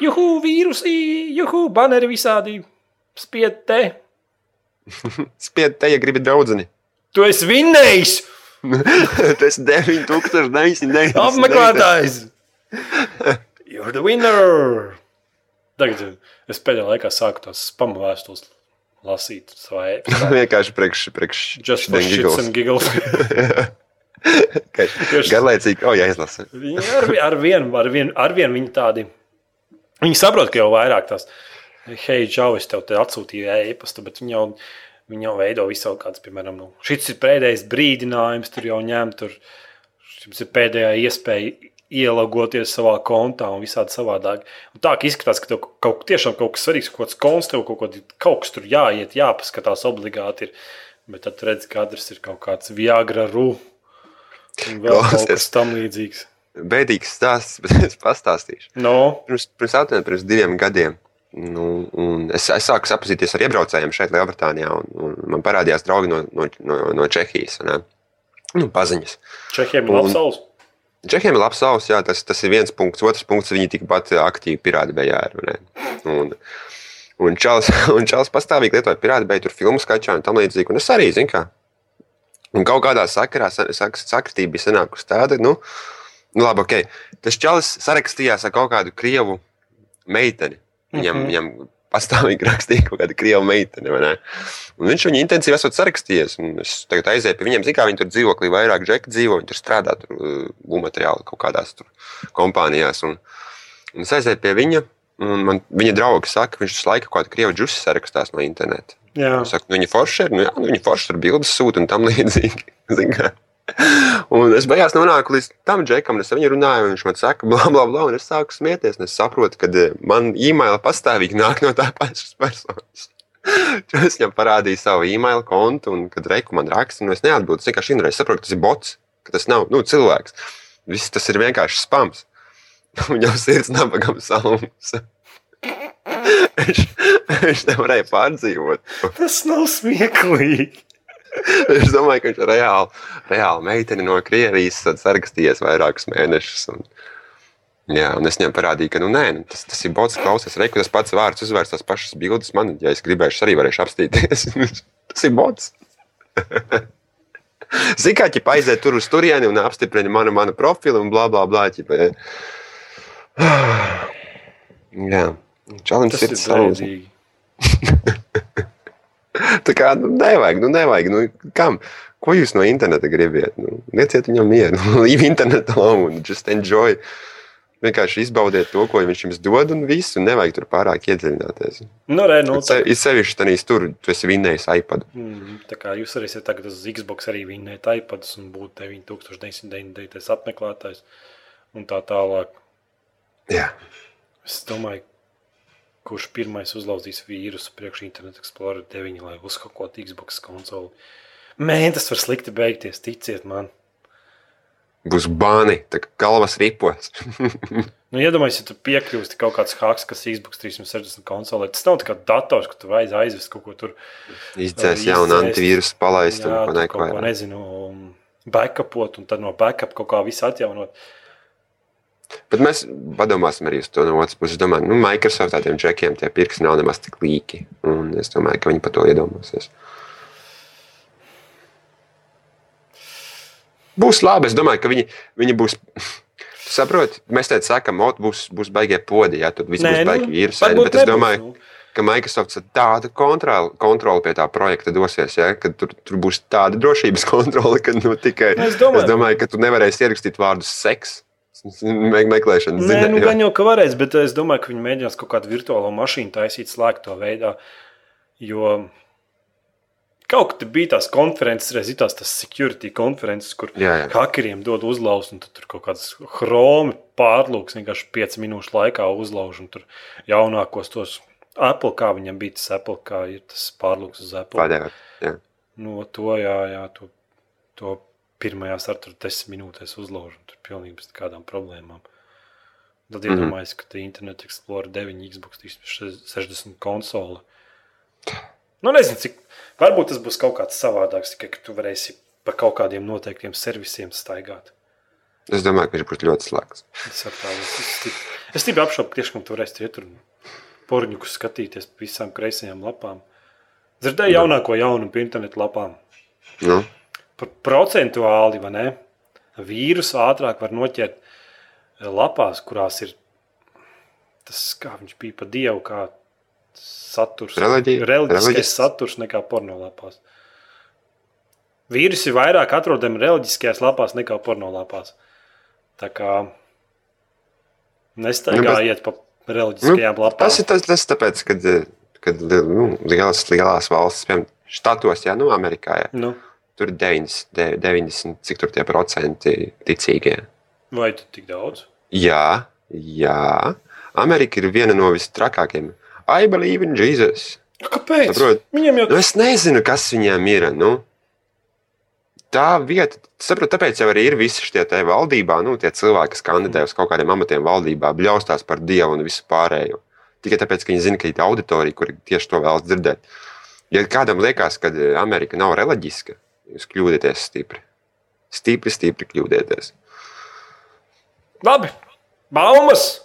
Juhu, vīrusi, juhu, baneri visādi. Spied te,
Spied te, ja gribi draudzeni.
tu esi vinnējis!
tas ir 9900.
Apmeklētājs! You're the winner! Tagad eh, es pēdējā laikā sāku tās spamu vēstules lasīt savā ēpā.
Vienkārši priekš, priekš,
Just for shits and giggles.
Vienkārši Garlaicīgi, o, oh, jāizlasa.
Viņi ar, vi- ar vienu, ar vienu, ar vienu viņi tādi. Viņi saprot, ka jau vairāk tās, hei, Džau, es tev te atsūtīju e-pastu, bet viņi jau, viņi jau veido visu kaut kāds, piemēram, nu, šis ir pēdējais brīdinājums, tur jau ņem, tur šis ir pēdējā iespēja ielogoties savā kontā un visādi savādāk. Un tā ka izskatās, ka tev kaut, tiešām kaut kas svarīgs, kaut kāds konts, tev kaut, kaut, kaut kas tur jāiet, jāpaskatās obligāti ir. Bet tad redz, ka katrs ir kaut kāds Viagra rū. Un vēl kaut kas
Klausies.
tam līdzīgs.
Bēdīgs stāsts, bet es pastāstīšu.
No,
pirms, pirms, aptuveni pirms diviem gadiem. Nu, un es, es sāku sapazīties ar iebraucējiem šeit, Lielbritānijā. Un, un man parādījās draugi no, no, no, no Čehijas. un, Nu, paziņas.
Čehiem ir
Un-
labs solis.
Čehiem ir labs savs, jā, tas, tas ir viens punkts. Otrs punkts, viņi tikpat aktīvi pirāti bejā ir. vai ne? Un, un Čels, un Čels pastāvīgi lietoja pirāti beju, tur filmu skačā un tam līdzīgi. Un es arī, zinu, kā. Un kaut kādā sakarā sa- sak- sakritība bija sanākusi tāda, nu, nu labi, ok. Tas Čels sarakstījās ar kaut kādu krievu meiteni.
Mhm.
Viņam, mm -hmm. viņam pastāvīgi rakstīja kaut kāda krievu meitene, vai ne? Un viņš viņu intensīvi esat sarakstījies. un Es tagad aizēju pie viņiem, zinu, kā viņi tur dzīvoklī vairāk džeki dzīvo. Viņi tur strādā, tur uh, būvmateriāli kaut kādās tur kompānijās. Un, un es aizēju pie viņa. Un man viņa draugi saka, ka viņš visu laiku kaut kādu krievu džusu sarakstās no interneta.
Jā,
Es saku, nu, viņa forši ir, nu, jā, nu, viņa forši tur bildes sūta un tam līdzīgi. Zini kā? Un es beigās nonāku līdz tam džekam, un es ar viņu runāju, un viņš man saka, bla, bla, bla, un es sāku smieties. un Es saprotu, ka man e-maila pastāvīgi nāk no tā pašas personas. Jo Es viņam parādīju savu e-maila kontu, un kad reiku man raksta, nu es neatbildu. Es vienkārši vienreiz saprotu, ka tas ir bots, ka tas nav nu, cilvēks. Viss tas ir vienkārši spams. Viņam sirds nabagam salums. viņš, viņš nevarēja pārdzīvot.
tas nav smieklīgi.
Es domāju, ka viņš ir reāli, reāli meitene no Krievijas, tad sarakstījies vairākus mēnešus. Un, jā, un es viņam parādīju, ka nu, nē, nu, tas, tas ir bots, klausies, reku tas pats vārds, uzvērts tās pašas bildes. Man, ja es gribēšu, arī varēšu apstīties. tas ir bots. Zikāķi aiziet tur uz turieni un apstiprina manu, manu profilu un bla bla bla. eh. Ķipa. Jā,
Tas
čalis
ir
ir savs.
brīdīgi.
Tā kā nu, nevajag, nu, nevajag. Nu, kam? Ko jūs no interneta gribat? Nu, lieciet viņam mieru, leave internetu alone, just enjoy. Vienkārši izbaudiet to, ko viņš jums dod, un viss, un nevajag tur pārāk iedziļināties.
Nu, re, nu, tā,
Ir sevišķi, tad īstenībā tur tu esi vinnējis iPad.
mm, tā kā jūs arī esat tagad uz Xbox, arī vinnēt iPadus un būt 9999 apmeklētājs un tā tālāk.
Jā,
Es domāju, kurš pirmais uzlauzīs vīrusu priekš Internet Explorer 9, lai uzhakotu Xbox konsoli. Mēģinājums tas var slikti beigties, ticiet man.
būs bāni, tā kā galvas ripos.
Nu, Iedomājieties, ja tu piekļūsti kaut kāds haks, kas Xbox 360 konsolē. Tas nav tā kā dators, ka tu vajag aizvest kaut ko tur.
Izdzēs jaunu
izdzēst.
antivīrusu, palaist un
Jā,
ko
tu
neko.
kaut ko nezinu, um, backupot un tad no backup kaut kā visu atjaunot.
Bet mēs padomāsim arī uz to no otras puses. Es domāju, nu, Microsoft tādiem džekiem tie pirksti nav nemaz tik līki. Un es domāju, ka viņi par to iedomāsies. Būs labi. Es domāju, ka viņi, viņi būs. Tu Saproti, mēs te sakām, ot, būs, būs baigie podi, ja tur viss būs baigi vīrusu.
nu, varbūt
Bet es
nebūs,
domāju,
nu.
ka Microsoft ar tādu kontroli, kontroli pie tā projekta dosies, ja, ka tur, tur būs tāda drošības kontrole, ka nu, tikai
Nu, es domāju-
es domāju, ka tu nevarēsi ierakstīt vārdu seks. me- Meklēšanas
Nē, nu,
ziņā.
gan jau ka varēs, bet es domāju, ka viņi mēģinās kaut kādu virtuālo mašīnu taisīt slēgto veidā. Jo kaut kad bija tās konferences, reizes tās, tās security konferences, kur
Jā, jā.
hakeriem dod uzlauz, un tad tur kaut kāds chromi pārlūks vienkārši 5 minūšu laikā uzlauž, un tur jaunākos tos Apple, kā viņam bija tas Apple, kā ir tas pārlūks uz Apple.
Pārdevēt. jā.
No Nu, to, jā, jā, to, to pirmajās ar tur desmit minūtēs uzlaužu, un tur pilnīgi bez kādām problēmām. Tad
Mhm.
iedomājos, ka te Internet Explorer 9, Xbox 360 konsole. Nu, nezinu, cik. Varbūt tas būs kaut kāds savādāks, tikai ka tu varēsi pa kaut kādiem noteiktiem servisiem staigāt.
Es domāju, ka viņš būs ļoti slēgts.
Es ar tādu stipri, es stipri apšaubu, ka tiešām tu varēsi iet tur un porņukus skatīties pa visām kreisajām lapām. Dzirdēju jaunāko jaunumu pa internetu lapām.
Nu,
Par procentuāli vai ne? Vīrusu ātrāk var noķert eh, lapās, kurās ir tas, kā viņš bija pa dievu, kā saturs.
Reliģija?
Reliģiskais
Reliģists?
saturs nekā pornolapās. Vīrusi vairāk atrodami reliģiskajās lapās nekā pornolapās. Tā kā nestaigājiet pa
nu,
reliģiskajām lapām.
tas ir tas, tas tāpēc, kad, eh, kad nu, lielās, lielās valsts, piemēram, štatos, ja nu, Amerikā, ja,
Nu,
tur ir 90, 90, cik tur tie procenti ticīgie.
vai tu tik daudz?
Jā, jā. Amerika ir viena no visstrakākajām. I believe in Jesus.
Kāpēc?
Saprot.
Viņam jau
Nu, es nezinu, kas viņiem ir. Nu. Tā vieta, saprotu, tāpēc jau arī ir visi šie te valdībā, nu, tie cilvēki, kas kandidē uz kaut kādiem amatiem valdībā, bļaustās par dievu un visu pārējo. Tikai tāpēc, ka viņi zina, ka ir auditorija, kur tieši to vēlas dzirdēt. Ja kādam liekas, ka eh, Amerika nav reliģiska, jūs kļūdieties stipri. Stipri, stipri kļūdieties.
Labi, baumas!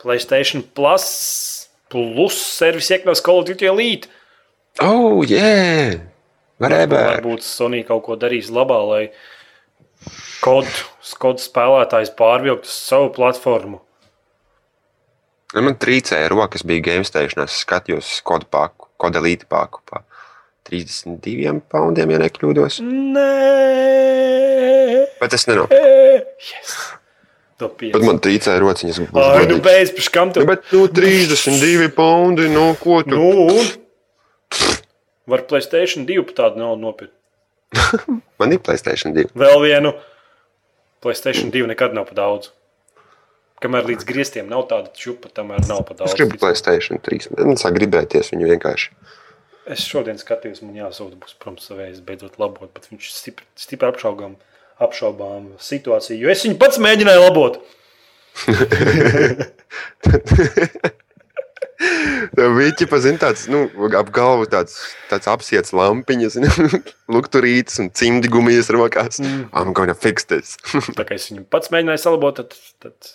Playstation Plus, plus servis iekļaus Call of Duty Elite.
Oh, yeah! Varēja!
Varbūt Sony kaut ko darīs labā, lai kodu spēlētājs pārvilktu uz savu platformu.
Nu, Man trīcēja rokas, bija gēmstēšanās, skatījos kodu paku, kodu elīti paku pa 32 poundiem, ja nekļūdos.
Nē,
Bet es nenāku.
yes. to
Bet
pieņemt.
man trīcēja rociņas. būšu
Ai, nu
godīgs.
beidz, pēc kam
Nu,
tev?
Bet, nu, 32 poundi, nu, ko tu?
Nu, un? Var Playstation 2 pat tādu naudu nopirkt.
Man ir Playstation 2.
Vēl vienu. Playstation 2 nekad nav pa daudz. Kamēr līdz griestiem nav tāda čūpa, tamēr nav pa daudz.
Es gribu Playstation 3. Man sāk gribēties viņu vienkārši.
Es šodien skatījos, man jāsūta, būs, protams, savējais beidzot labot, bet viņš ir stipri, stipri apšaubām, apšaubām situāciju, jo es viņu pats mēģināju labot.
Viņa pazina tāds, nu, ap galvu tāds, tāds apsiets lampiņas, lukturītas un cimdigumijas rokās. I'm gonna fix this.
Tā kā es viņu pats mēģināju salabot, tad, tad,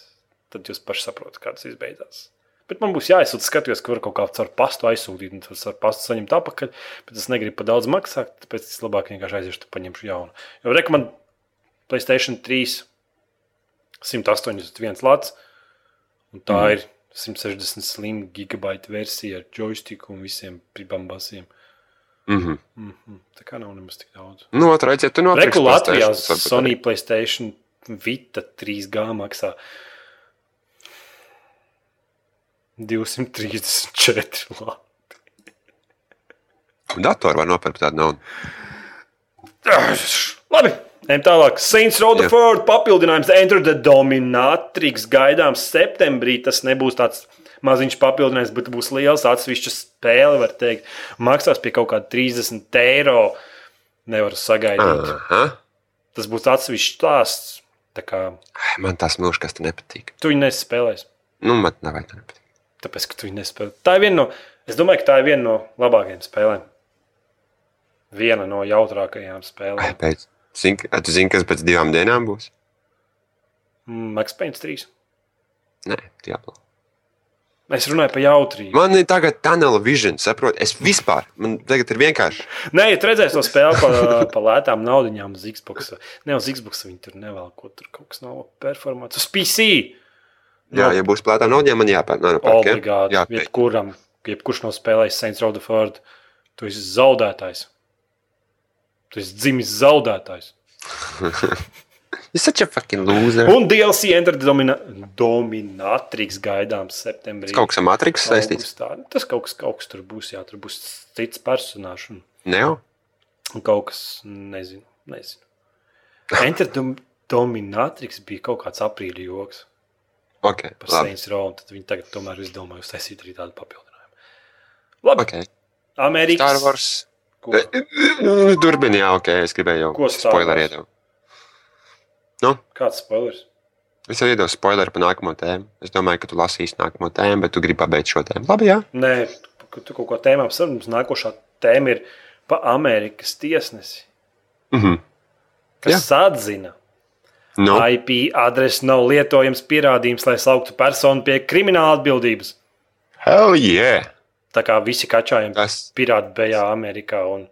tad jūs paši saprotat, kā tas izbeidzās. Bet man būs jāizsūta skatījums, ka var kaut kā caur pastu aizsūtīt, un tas ar pastu saņemt atpakaļ. Bet es negribu par daudz maksāt, tāpēc es labāk vienkārši aiziešu, tad paņemšu jaunu. Jo rekomendācija Playstation 3 181 lats, un tā mm. ir 160 slim gigabaita versija ar joystiku un visiem pribambasiem.
mm -hmm.
Mm -hmm. Tā kā nav nemaz tik daudz.
Nu, otrā reizē tu nopirksi
Reku Latvijā
PlayStation, saprati?
Sony Playstation Vita 3G maksā. 234. labi.
Datoru var nopirkt tādu naudu.
Labi. Ejam tālāk. Saints Rodaford papildinājums Enter the Dominatrix gaidāms septembrī. Tas nebūs tāds maziņš papildinājums, bet būs liels atsevišķa spēle, var teikt. Maksās pie kaut kāda 30 eiro. Nevaru sagaidīt.
Aha.
Tas būs atsevišķs stāsts. Tā kā
Ai, Man tās mūžas nepatīk.
tu viņu nespēlēsi.
Nu, man nav vajag tā nepatīk.
Tāpēc, ka tu viņu nespēlē. Tā ir viena no, es domāju, ka tā ir viena no labākajām spēlēm. Viena no jautrākajām spēlēm.
Ai, Pēc, zin, a, tu zini, kas pēc divām dienām būs?
Mm, Max Payne 3.
Nē, Diablo.
Es runāju par jautrību.
Man ir tagad tunnel vision, saproti? Es vispār, man tagad ir vienkārši.
Nē, ja tu redzēsi to spēli par pa lētām naudaiņām uz Xbox. Ne uz Xbox viņi tur nevēl, ko tur kaut kas nav performāts. Uz PC Nu.
Jā, ja būs plātā nauda, man jāpērk. Nē, nu,
Oh
pērk, ja?
obligāti.
Jā, pērk.
Jebkuram, jebkurš nav spēlējis Saints Row the Ford, tu esi zaudētājs. Tu esi dzimis zaudētājs.
You're such a fucking loser.
Un DLC Enter the domina Dominatrix gaidāms septembrī.
Kaut kas ar
Oh.
Matrix saistīts.
Augustā. Tas kaut kas, kaut kas tur būs, jā, tur būs cits personāžs. un-
Ne jau?
Un kaut kas, nezinu. nezinu. Enter the Dominatrix bija kaut kāds aprīļa joks
Ok,
par
labi.
Saints Row. un Tad viņi tagad tomēr izdomāja uztaisīt arī tādu papildinājumu. Labi,
Ok, Star
Amerikas.
Wars. Eh,
Ko?
nu, Durbini, jā, ok, es gribēju jau
Ko Star
spoileri
Wars?
iedot.
Kāds spoilers?
Es jau iedodu spoileri par nākamo tēmu. Es domāju, ka tu lasīsi nākamo tēmu, bet tu gribi pabeigt šo tēmu. Labi, jā.
Nē, tu- tu kaut ko tēmām sarunās. Nākošā tēma ir pa Amerikas tiesnesi,
Mhm. Jā.
kas atzina.
Nu,
IP adrese nav lietojams pierādījums, lai sauktu personu pie krimināla atbildības.
hell yeah!
Tā kā visi kačājiem
Tas,
pirāti bejā Amerikā un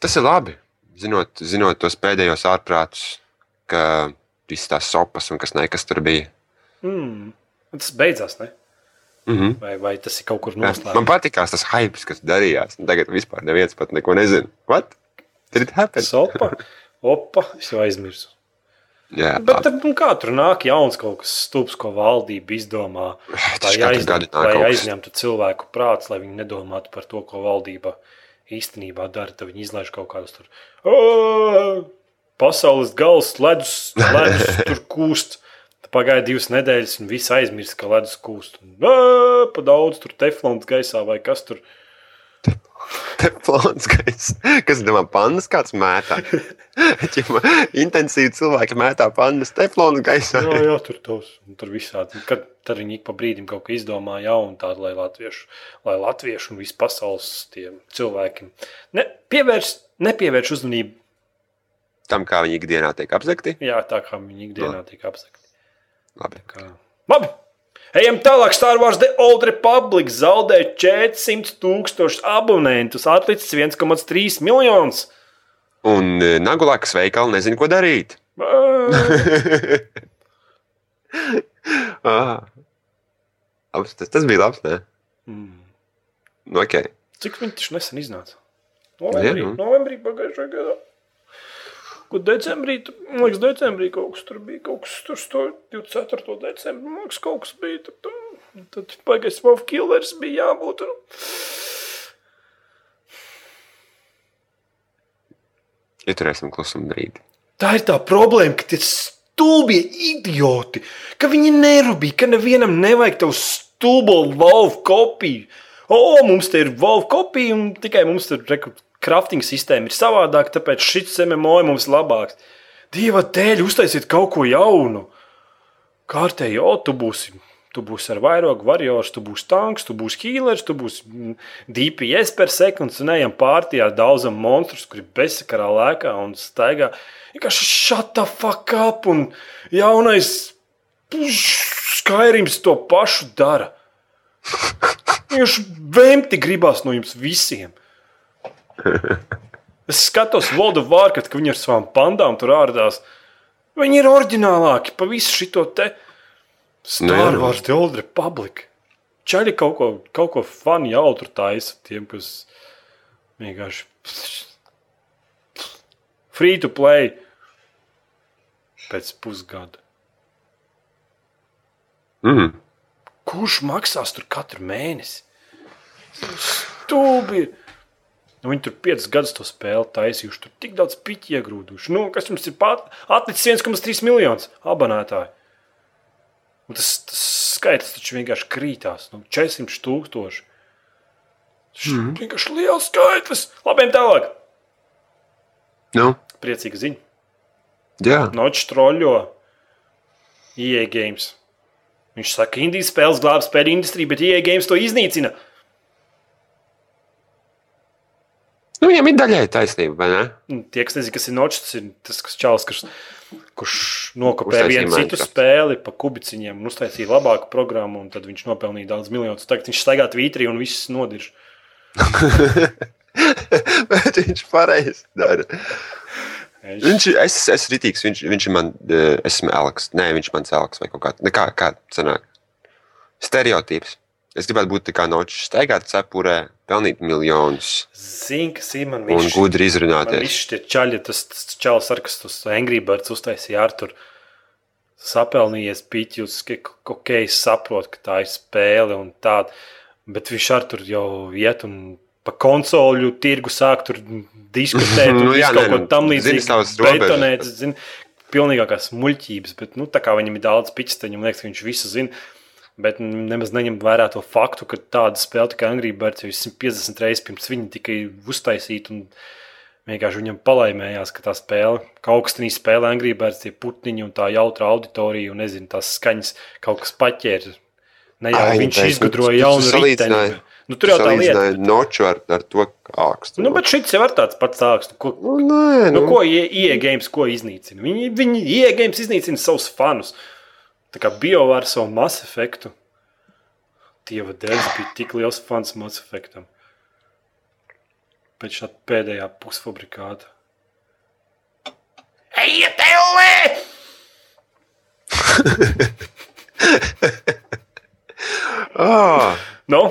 tas ir labi. Zinot, zinot tos pēdējos ārprātus, ka visas tās sopas un kas nekas tur bija.
Mm. Tas beidzās, ne?
Mhm.
Vai, vai tas ir kaut kur
Man
noslēgts?
patīkās tas hype, kas darījās. un Tagad vispār neviens pat neko nezina. What? Did it happen?
Sopa, opa, es jau aizmirsu.
Jā,
Bet nu, kā tur nāk jauns kaut kas stulbs, ko valdība izdomā? Lai,
Tas katru gadu
aizņemtu,
nāk
lai
kaut kas.
aizņemtu cilvēku prāts, lai viņi nedomātu par to, ko valdība īstenībā dara. Tad viņi izlaiž kaut kādus tur. "Ā, Pasaules gals, ledus, ledus tur kūst. Tad Pagāja divas nedēļas, un viss aizmirst, ka ledus kūst. Un, "Ā, Pa daudz tur teflons gaisā vai kas tur.
Te plāns, kas, kas domā, pandas kāds mētā. Ķima, Intensīvi cilvēki mētā pandas teflonu gaisā.
Nu, Jā, jā, tur tos un tur visādi. Un Kad tad viņi ik pa brīdim kaut ko izdomā jaunu, tādu, lai latviešu, lai latviešu un visu pasaules tiem cilvēkiem ne, pievērš, nepievērš uzmanību.
Tam, kā viņi ikdienā tiek apzakti.
Jā, tā kā viņi ikdienā tiek apsakti.
Labi.
Kā... Labi! Ejam tālāk. Star Wars The Old Republic zaudēja 400 tūkstošus abonentus. Atlicis 1,3 miljonus.
Un e, Nagulākas veikali nezina, ko darīt.
Ā,
Ah. Labs, tas, tas bija labs, nē?
mm.
Nu, ok.
Cik viņi taču nesen iznāca?
Jā,
Novembrī,
nu.
novembrī pagājušajā gadā. Kur decembrī, tur, man liekas, decembrī kaut kas tur bija. Kaut kas tur bija 24. decembrī, man liekas, kaut kas bija. Tur, tur, tad pagājis Vovs Killers bija jābūt. Un...
Ieturēsim klusumu brīdi.
Tā ir tā problēma, ka tie stulbie idioti, ka viņi nerūpīgi, ka nevienam nevajag tavu stulbo valvu kopiju. O, mums te ir valvu kopija, un tikai mums tur reku, crafting sistēma ir savādāka, tāpēc šis MMO ir mums labāks. Dieva dēļ, uztaisiet kaut ko jaunu. Kārtēji, o, tu būsi. Tu būsi ar vairogu, varjors, tu būsi tanks, tu būsi healers, tu būsi mm, DPS per sekundi, un ejam pārtījā daudzam monstrus, kuri bezsakarā lēkā un staigā. Vienkārši shut the fuck up, un jaunais skairījums to pašu dara. Viņš vēmti gribās no jums visiem. Es skatos Voldu Vārkat, ka viņi ar savām pandām tur ārdās. Viņi ir oriģinālāki pa visu šito te
Nē,
Star
nu.
Wars The Old Republic. Čaļi kaut ko, kaut ko fani jautru taisa tiem, kas vienkārši free to play pēc pusgada.
Mm.
Kurš maksās tur katru mēnesi? Stūbi! Nu, viņi tur piecus gadus to spēli taisījuši. Tur tik daudz piķi iegrūduši. Nu, kas jums ir pat... atlicis 1,3 miljonus abonētāju? Un tas, tas skaitlis taču vienkārši krītās. Nu, 400 tūkstoši. Tas mm -hmm. vienkārši liels skaitlis. Labi, tālāk.
Nu,
Priecīga ziņa.
jā,
Noķis troļļo. IE games. Viņš saka, ka Indijas spēles glābj spēļu industriju, bet IE games to iznīcina.
nu, viņam ir daļai taisnība, vai ne?
Nu, Tie, kas nezina, kas ir noķis, tas ir tas kas čels, kurš, kurš nokopē
Uztaisīja
vienu citu
Minecraft.
spēli pa kubiciņiem un uztaisīja labāku programmu, un tad viņš nopelnīja daudz miljonus. Tagad viņš staigā tvītrī un viss nodirž.
Bet viņš pareizi dara. Viņš, ir- es esmu Ritīgs, viņš, viņš ir man, eh, es esmu Elks. Nē, viņš ir mans Elks vai kaut kā tāda. Kā, kā sanāk? Stereotīps. Es gribētu būt tā kā nočs, staigāt cepurē, pelnīt miljonus
Zini, kas ir man
un
viņš.
gudri
Man
izrunāties.
Visi šie čaļi, tas, tas čels ar kas tos Angry Birds uztaisīja ar tur. Sapelnījies pīķis, ka ok, es saprotu, ka tā ir spēle un tāda. Bet viņš ar tur jau iet un pa konsoli tirgu sāk tur diskutēt.
Nu
nu, jā,
jā,
kaut
nē,
ko
nu,
tam
zini
līdzīgu.
savas robežas.
Betonēt, zini, pilnīgākās muļķības. Bet, nu, tā kā viņam ir daudz pīķis, tad viņam liekas, ka viņš visu zina. Bet nemaz neņem vērā to faktu, ka tāda spēle, kā Angļu Bērts, jau 150 reizes pirms viņa tika uztaisīta. un Vienkārši viņam palaimējās, ka tā spēle, ka augstinī spēlē Angļu Bērts, tie putniņi un tā jautra auditorija un nezinu, tās skaņas kaut kas paķēra. Ne jau
Ai,
viņš
taisnība. Tu- tu
izgudroja jaunu riteni.
salīdzināji-
Nu, tur jau tā lieta.
noču ar, ar to ākstu.
Nu, bet šis jau ir tāds pats sāks. Nu, ko,
nu, nē,
nu,
nu,
ko iegājums ko iznīcina? Viņi, viņi iegājums iznīcina savus fanus. Tā kā biovāra savu masu efektu. Dieva dēļ es biju tik liels fans masu efektam. Pēc šāda pēdējā pusfabrikāta. Ejiet, ellē!
Ā,
Nu,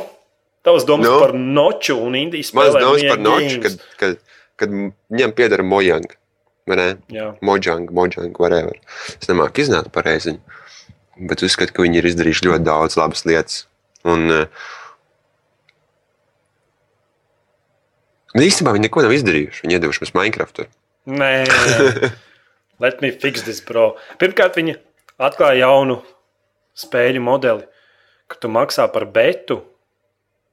tavs domas
Nu?
no. par noču un Indijas
Mans
spēlēm
daudz
EA
par noču,
games.
kad, kad, kad viņam pieder mojang. vai ne?
Jā.
Mojang, mojang, whatever. Es nemāku iznākt pareizi. Bet uzskatu, ka viņi ir izdarījuši ļoti daudz labas lietas. Un, eh, nu, īstenībā viņi neko nav izdarījuši. Viņi iedevuši mums Minecraft.
Nē, let me fix this, bro. Pirmkārt, viņi atklāja jaunu spēļu modeli, ka tu maksā par betu,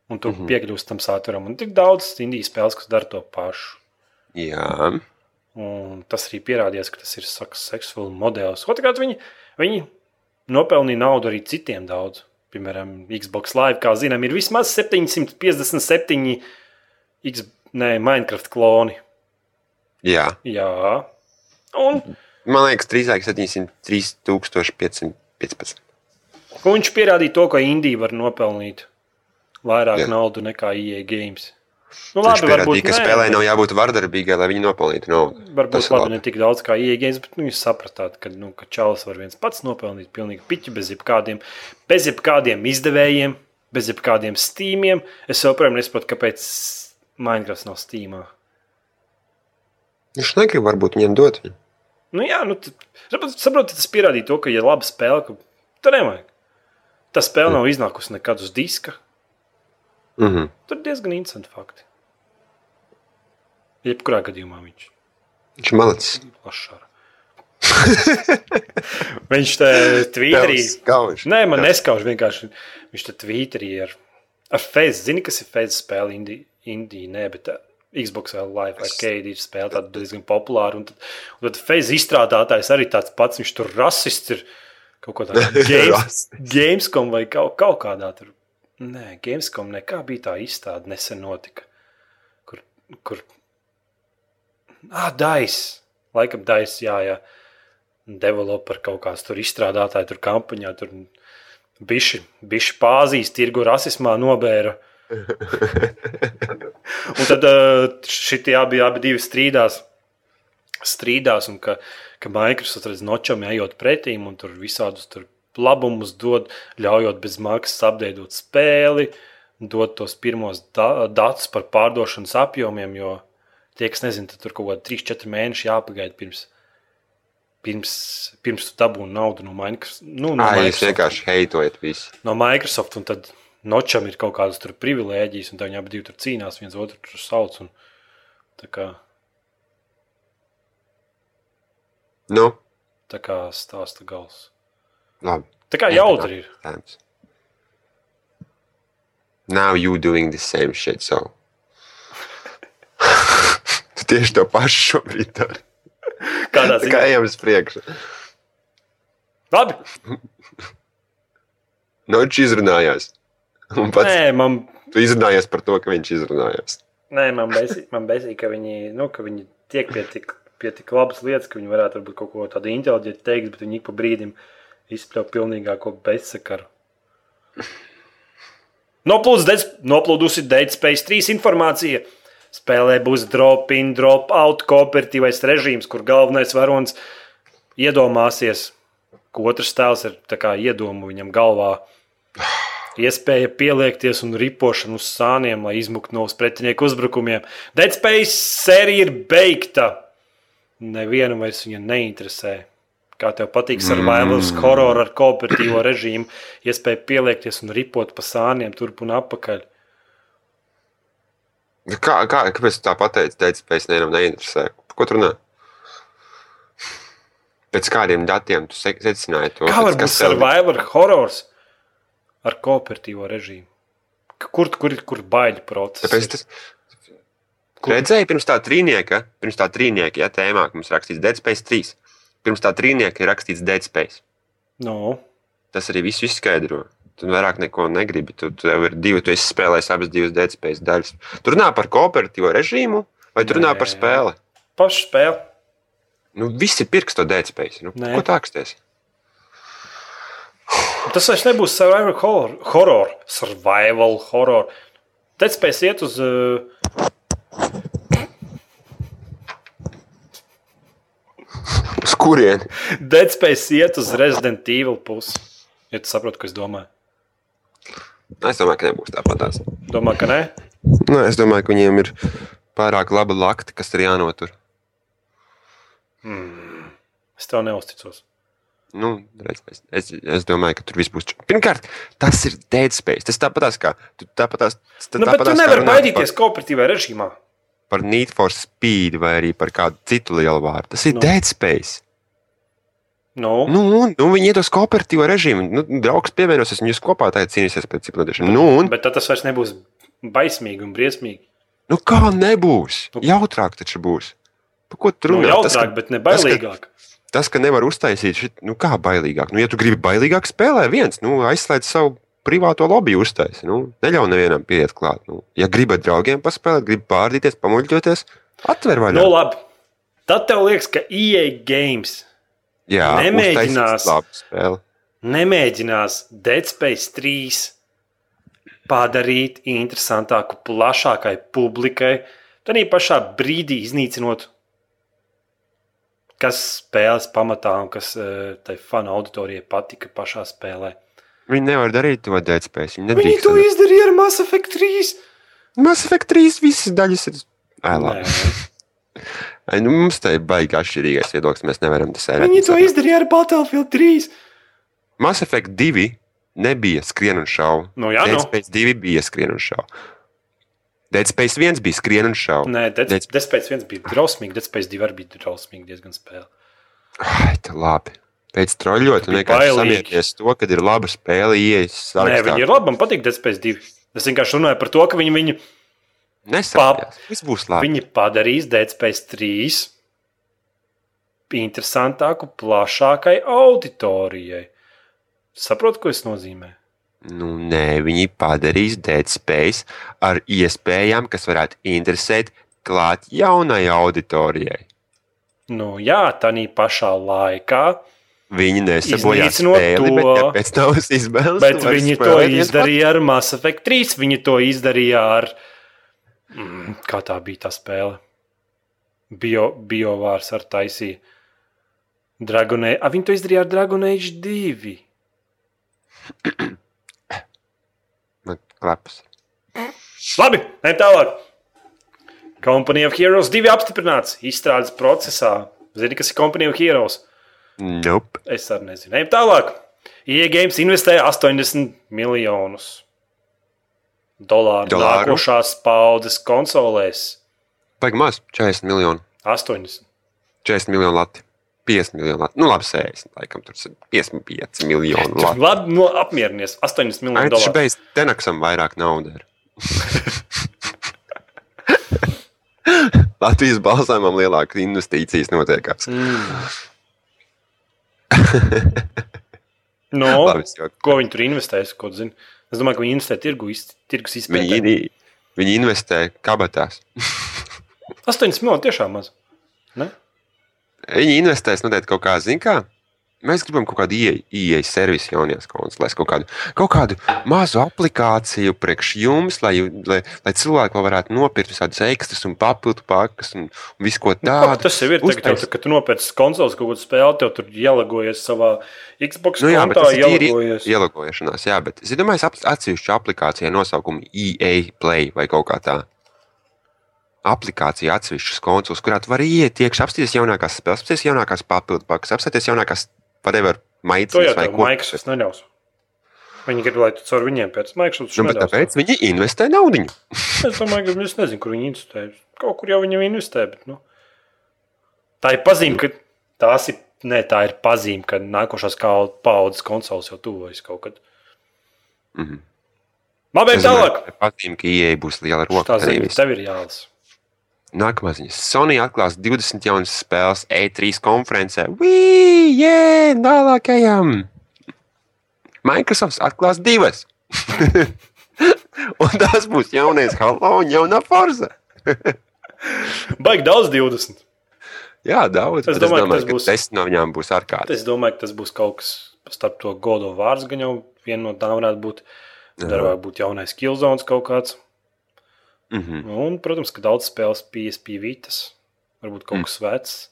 un tu mm -hmm. piekļūsi tam saturam. Un tik daudz indijas spēles, kas dara to pašu.
Jā,
Un tas arī pierādījās, ka tas ir seksuāls modelis. Otrkārt, viņi, viņi nopelnīja naudu arī citiem daudz. Piemēram, Xbox Live, kā zinām, ir vismaz 757 X, ne, Minecraft kloni.
jā.
Jā, un
Man liekas, drīzāk 7515.
Un Viņš pierādīja to, ka Indija var nopelnīt vairāk
Jā.
yeah. naudas nekā IE games. Nu,
Viņš
labi, varbūt
pierādīja, ka
nē,
spēlē nav jābūt vardarbīgai, lai viņi nopelnītu naudu.
Varbūt
Tas ir
labi,
labi.
ne tik daudz kā IE games, bet nu, jūs sapratāt, ka, nu, ka Čāles var viens pats nopelnīt pilnīgi piķi bez jebkādiem, bez jebkādiem izdevējiem, bez jebkādiem stīmiem. Es joprojām nesaprotu, kāpēc Minecraft nav stīmā.
Viņš negrib varbūt viņiem dot. viņu.
Nu, jā, nu, t- saprot- saprotat, tas pierādīja to, ka, ja laba spēle, ka tā nevajag. Tā spēle nav iznākusi nekad uz diska.
Mhm.
Tur diezgan interesanti fakti. Jebkurā gadījumā viņš
Viņš ir malicis.
ir plašs. viņš te tvītrī.
Skauž.
Nē, man neskauž vienkārši. Viņš te tvītrī ar, ar Fez. Zini, kas ir Fez spēle Indi- Indijā? Nē, bet tā Xbox Live arcade ir spēle tāda diezgan populāra. Un tad, un tad Fez izstrādātājs arī tāds pats. Viņš tur rasists ir kaut ko tādu. Games, Gamescom vai kaut, kaut kādā tur. Nē, Gamescom nekā bija tā izstāde nesen notika. Kur, kur... Ah, Dais! Laikam Dais, jā, jā. Developer kaut kāds tur izstrādātāji, tur kampaņā, tur bišķi, bišķi pāzīs, tirgu rasismā nobēra. un tad eh, šitie abi, abi divi strīdās. Strīdās, un ka, ka Microsoft redz nočam ejot pretīm un tur visādus tur labumus dod, ļaujot bez maksas apdeidot spēli, dod tos pirmos da datus par pārdošanas apjomiem, jo tie, kas nezina, tad tur kaut kādi 3-4 mēneši jāpagaida pirms pirms, pirms tu dabūji naudu no Minecraft. Nu, no,
Ai, jūs
Microsoft,
vienkārši heitojat visu.
no Microsoft, un tad Nočam ir kaut kādas tur privilēģijas, un tad viņi abi divi tur cīnās, viens otru tur sauc. Un, tā kā,
Nu,
tā kā stāsta gals.
labi.
Tā kā jautri ir.
Times. Now you doing the same shit, so. tu tieši to pašu šobrīd dari.
Kādā
Tā kā
ziņā?
ejam uz priekšu.
Labi.
Nu, viņš izrunājās. Un pats
Nē, man
tu izrunājies par to, ka viņš izrunājās.
Nē, man bezsīk, bezsī, ka, viņi, nu, ka viņi tiek pie tik, pie tik labas lietas, ka viņi varētu varbūt kaut ko tādu inteliģentu teikt, bet viņi ik pa brīdim izspļauj pilnīgāko bezsakaru. Noplūdusi Dead- Noplūdusi Dead Space 3 informācija. Spēlē būs drop-in, drop-out kooperatīvais režīms, kur galvenais varonis iedomāsies, ko otrs tēls ir tā kā iedomu viņam galvā iespēja pieliekties un ripošana uz sāniem, lai izmuktu no pretinieku uzbrukumiem. Dead Space sērija ir beigta. Nevienu vairs viņa neinteresē. Kā tev patīk survivals, mm. horror ar kooperatīvo režīmu, iespēja pieliekties un ripot pa sāniem turp un apakaļ.
Nu, Kā, kā, kāpēc tu tā pateici? Teici, pēc nevienam neinteresē. nu, Par ko tu runā? Pēc kādiem datiem tu se- secināji to?
Kā
pēc
var būt
kas tev-
survivor horrors ar kooperatīvo režīmu? Kur, kur, ir- kur baļķi procesi?
Tāpēc tas redzēja, pirms tā trīnieka, pirms tā trīnieka, ja tēmā ka mums rakstīts Dead Space 3. Pirms tā trīnieka ir rakstīts Dead Space.
No.
Tas arī viss izskaidro. Tu nu vairāk neko negribi. Tu, tu jau ir divi, tu esi spēlējis abas divas Dead Space daļas. Tu runā par kooperatīvo režīmu vai tu runā
Nē.
par spēli?
Pašu spēle.
Nu, visi pirks to Dead Space. Nu,
Nē.
ko tā aksties?
Tas vairs nebūs survival horror. horror survival horror. Tad spēs iet uz. uh,
Uz kurien?
Dead Space iet uz Resident Evil pusi. Ja tu saproti, ko es domāju.
Nu, Es domāju, ka nebūs tāpatās.
Domā, ka nē?
Nu, es domāju, ka viņiem ir pārāk laba lakta, kas ir jānotur.
Es tev neusticos.
Nu, redz, es, es, es domāju, ka tur viss būs. čau. Pirmkārt, tas ir dead space. Tas tāpatās kā. tu Tāpatās, tā,
Nu, bet tu
tāpatās kā
nevari
runāt
baidīties kooperatīvā režīmā.
Par, par Need for Speed vai arī par kādu citu lielu vārdu. Tas ir
Nu.
no. dead space.
Nu,
Nu, un, nu viņi iedos kooperatīvo režīmu. Nu, draugs pievienosies, viņi jūs kopā tā cīnīsies pēc cikladiešiem. Nu, un,
bet tad tas vairs nebūs baismīgi un briesmīgi.
nu, kā nebūs? Jautrāk taču būs. Par ko tur
Nu,
runā? Tas,
jautrāk,
ka-
bet ne
tas, ka-
bailīgāk.
tas, ka nevar uztaisīt, šit, nu kā bailīgāk. Nu, ja tu gribi bailīgāk, spēlē viens, nu, aizslēdz savu privāto lobby uztaisīt. Nu, neļauj nevienam pieiet klāt. Nu, ja gribi ar draugiem paspēlēt, gribi pārdīties, pamuļķoties, atver vaļā.
Nu, labi. Tad tev liekas, ka EA Games
Jā,
nemēģinās.
uztaisīs labu spēli.
nemēģinās Dead Space 3 padarīt interesantāku, plašākai publikai, tad arī pašā brīdī iznīcinot, kas spēles pamatā un kas eh, tai fanu auditorijai patika pašā spēlē.
Viņi nevar darīt to dēļspēju. Viņi
Viņi
nedrīkst.
to
Viņi
izdarīja ar Mass Effect 3.
Mass Effect 3 visas daļas ir. Ai, labi.
Nē,
Ai, nu, mums tā ir baigā atšķirīgais viedoklis. Mēs nevaram tas sērēt.
Viņi to izdarīja ar Battlefield 3.
Mass Effect 2 nebija skrien un šaubu.
Nu, jā,
Dead
nu.
Space 2 bija skrien un šaubu. Dead Space 1 bija skrien un šaubu.
Nē, Dead,
Dead-
Dead Space 1 bija drausmīga, Dead Space 2 arī bija drausmīga diezgan spēle.
Ai, tā labi. Pēc troļļot, un
Bija
vienkārši
bailīgi.
samieties to, kad ir laba spēle, ieejas
Nē, viņi ir labi, man patīk Dead Space 2. Es vienkārši runāju par to, ka viņi viņu
Nesapjās. Viss būs labi.
Viņi padarīs Dead Space 3 interesantāku, plašākai auditorijai. Saprotu, ko es nozīmē?
Nu, nē, viņi padarīs Dead Space ar iespējām, kas varētu interesēt klāt jaunai auditorijai.
Nu, jā, tā nī pašā laikā,
Viņi nesabojā
Iznīcinot
spēli,
to.
bet kāpēc tavas izbēles?
bet
tu vari
viņi to
spēlēt viens
izdarīja ar Mass Effect 3. Viņi to izdarīja ar. Mm, Kā tā bija tā spēle? Bio, biovārs ar taisīju. Dragonē, a, viņi to izdarīja ar Dragon Age 2.
Man klapas.
Labi, ejam tālāk. Company of Heroes 2 apstiprināts izstrādes procesā. Zini, kas ir Company of Heroes?
Nope.
Es arī nezinu. Ejam tālāk. Iegames investē 80 miljonus dolāru,
Dolāru?
dolāru nākošās paudzes konsolēs.
Paigi maz, 40 miljoni.
80.
40 miljoni lati. 50 miljoni lati. Nu, labi, 60. Laikam tur ir 55 miljoni lati.
Labi, no, nu, apmierinies. 80
Ai,
miljoni
tas
dolāru.
beidz tenaksam vairāk naudas. Latvijas balsojumam lielākas investīcijas notiekās.
No,
Labi, es jokoju.
Nu, ko viņi tur investēs? Ko tu zini? Es domāju, ka viņi investē tirgu, iz- tirgus
Viņi,
izpētē.
in- viņi investē kabatās.
80 miljoni tiešām maz. Ne?
Viņi investēs noteikti kaut kā, zina, kā. Mēs gribam kaut kādu ieejas servisu jaunajās konsolēs, kaut kādu, kaut kādu mazu aplikāciju priekš jums, lai, jū- lai, lai cilvēki vēl varētu nopirkt visādus ekstrus un papildu pakas un, un visu ko
Nu, Ko,
tādu.
tas jau ir. Tagad, tev,
uztais-
tu- kad tu nopērci konsoles kaut kādu spēli, tev tur ielagojies savā Xbox
Nu jā, bet
kontā.
tas ir tīri
ielagojies.
ielagošanās, jā, bet es domāju, ap, atsevišķa aplikācija nosaukumu EA Play vai kaut kā tā. Applikācija atsevišķas konsoles, kurā tu vari iet, iekšā apstāties jaunākās spēles, apstāties jaunākās papildu pakas, apstāties jaunākās, whatever,
To jau
maicīnas vai
tādu
ko.
Microsoft neļaus. Viņi grib, lai tu caur viņiem pēc Microsoft
Nu, bet tāpēc viņi investē naudu.
Es domāju, ka es nezinu, kur viņi investē. Kaut kur jau viņam investē. Bet, nu. Tā ir pazīme, ka tās ir. Nē, tā ir pazīme, ka nākošās kau- paudzes konsoles jau tuvojas kaut kad.
Mm -hmm.
Labi, ejam tālāk.
Patīk, ka ieeja būs liela roka.
Tā
arī
ziņa
viss.
tev ir jālasa.
Nākamā ziņa. Sony atklās 20 jaunas spēles E3 konferencē. Vīj, jē, tālākajam! Microsoft atklās divas. Un tas būs jaunais Halo un jaunā Forza.
Baigi daudz 20.
Jā, daudz.
Es
bet
domāju, ka tas
ka
būs-
desmit no viņām būs ārkārtīgi.
Es domāju, ka tas būs kaut kas starp to godo vārdu. Gan jau viena no tām varētu būt. Tad
Jā.
varētu būt jaunais Kilzons kaut kāds. Nu,
Mm -hmm.
Un, protams, ka daudz spēles PSP vītas. Varbūt kaut
Mm.
kas vecs,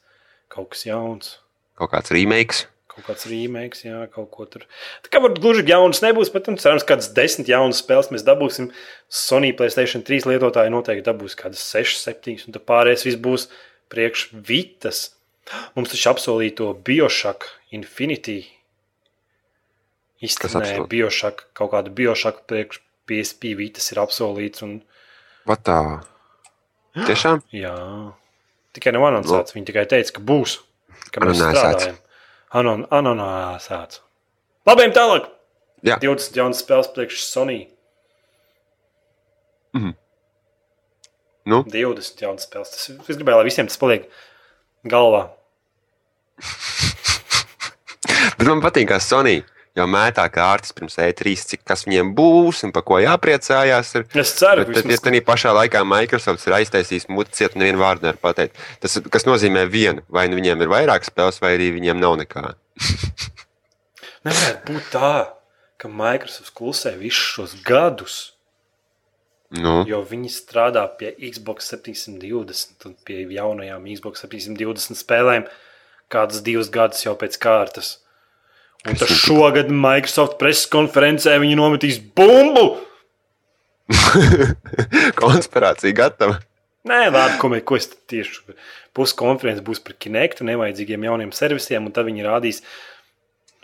kaut kas jauns.
Kaut kāds remakes.
Kaut kāds rīmēks, jā, kaut ko tur. Tā kā varbūt gluži jaunas nebūs, bet nu, cerams, ka kādas desmit jaunas spēles mēs dabūsim. Sony Playstation 3 lietotāji noteikti dabūs kādas 6, 7, un tad pārējais viss būs priekš vitas. Mums taču apsolīja to Bioshock Infinity. Īstenībā
apsolīts?
Bioshock kaut kādu Bioshock priekš PSP vitas ir apsolīts. Un,
Vatā. Tiešām?
jā, tikai nav anoncēts. Viņi tikai teica, ka būs. Ka mēs
Anonēsāts.
strādājam. Anon, anonāsāts. Labi, ejam tālāk.
Jā.
20 jaunas spēles priekš Sony.
Nu?
20 jaunas spēles. Tas, es gribēju, lai visiem tas paliek galvā.
Bet man patīk, kā Sony jau mētā kārtas pirms E3, cik kas viņiem būs un par ko jāpriecājās. Ir.
Es ceru,
Bet
ka
tad, ja
vismaz...
tādā pašā laikā Microsoft ir aiztaisījis muti cietu, nevienu vārdu nevar pateikt. Tas kas nozīmē vienu, vai nu viņiem ir vairāk spēles, vai arī viņiem nav nekā.
nevarētu būt tā, ka Microsoft klusē visus šos gadus,
Nu,
jo viņi strādā pie Xbox 720 un pie jaunajām Xbox 720 spēlēm kādas divas gadus jau pēc kārtas. Un tad šogad Microsoft preses konferencē viņi nometīs bumbu!
konspirācija gatava.
Nē, labi, ko, mē- ko es tad tieši puskonferences būs par kinektu, nevajadzīgiem jauniem servisiem, un tad viņi rādīs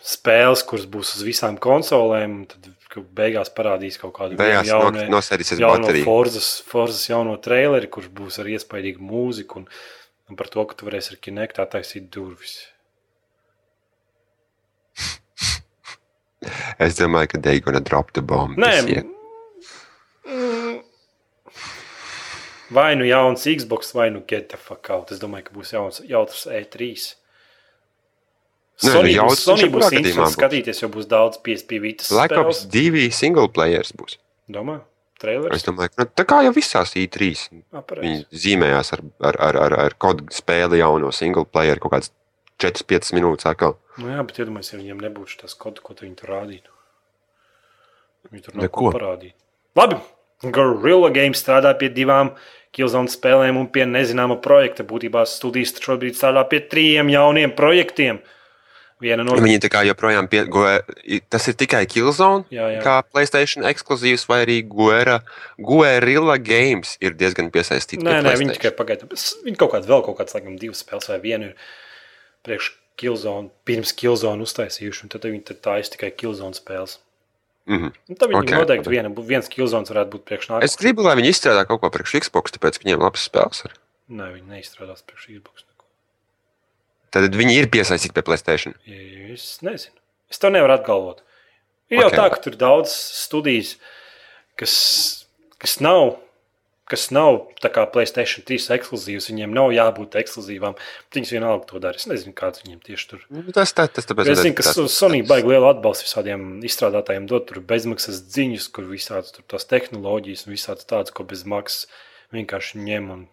spēles, kuras būs uz visām konsolēm. un Tad ka beigās parādīs kaut kādu
Beigās
jaunu-
no- nosēdīsies
jauno
baterija.
Forzas, Forzas jauno traileri, kurš būs ar iespaidīgu mūziku un, un par to, ka tu varēsi ar kinektu attaisīt durvis.
Es domāju, ka they gonna drop the bomb.
Nē,
this year.
mm, vai nu jauns Xbox, vai nu Get the fuck out. Es domāju, ka būs jauns, jautrs E3.
Nē,
Sony,
nu,
Nē,
jautrs
būs, Sony būs
viņš jebkurā gadījumā
interesanti
būs.
skatīties, jo būs daudz piespīdītas.
Black Ops 2 single players būs.
Domāju,
Es
trailers.
domāju, ka nu, tā kā jau visās E3
Ah, pareizi.
viņi zīmējās ar, ar, ar, ar, ar kodu spēli jauno single player kaut kāds 4-5 minūtes atkal.
Nu, jā, bet iedomājieties, ja viņiem nebūtu tas kods, ko tu viņi tur rādītu. Viņi tur
Neko.
neko parādītu. Labi, Gorilla Game strādā pie divām Kilzonas spēlēm un pie nezināma projekta. Būtībā studijas šobrīd strādā pie trim jauniem projektiem. Viena no
Viņi tā kā joprojām pie, go, tas ir tikai Killzone,
Jā, jā.
kā PlayStation ekskluzīvs, vai arī Guerra- Guerrilla Games ir diezgan piesaistīta.
Nē, nē, viņi tikai pagaidām. Viņi kaut kādā vēl kaut kādas, laikam, divas spēles vai vienu ir priekš Kilzona, pirms Kilzona uztaisījuši, un tad viņi tad taisa tikai Kilzona spēles.
Mm -hmm.
Un tad viņi
Ok,
okay, noteikti
labi.
viena, bū- viens Kilzons varētu būt priekš nākamā.
Es gribu, lai viņi izstrādā kaut ko priekš Xbox, tāpēc, ka viņiem labs spēles ir.
Nē, viņi neizstrādās priekš Xbox. neko.
Tad viņi ir piesaistīti pie Playstation.
Es nezinu. Es to nevaru atgalvot. Ir jau
Ok.
okay. tā, ka tur ir daudz studijas, kas, kas nav. Kas nav tā kā Placēta 3 ekskluzīvs, viņiem nav jābūt ekskluzīvām. bet Viņas vienalga to dara. Es nezinu, kāds viņiem tieši tur
Nu, Tas, tā, tas tāpēc,
Bet Es zinu, ka
tas-
Sonija baigi lielu atbalstu visādiem izstrādātājiem dot tur bezmaksas ziņas, kur visādas tur tās tehnoloģijas un visādas tādas, ko bez maksas vienkārši ņem. Un,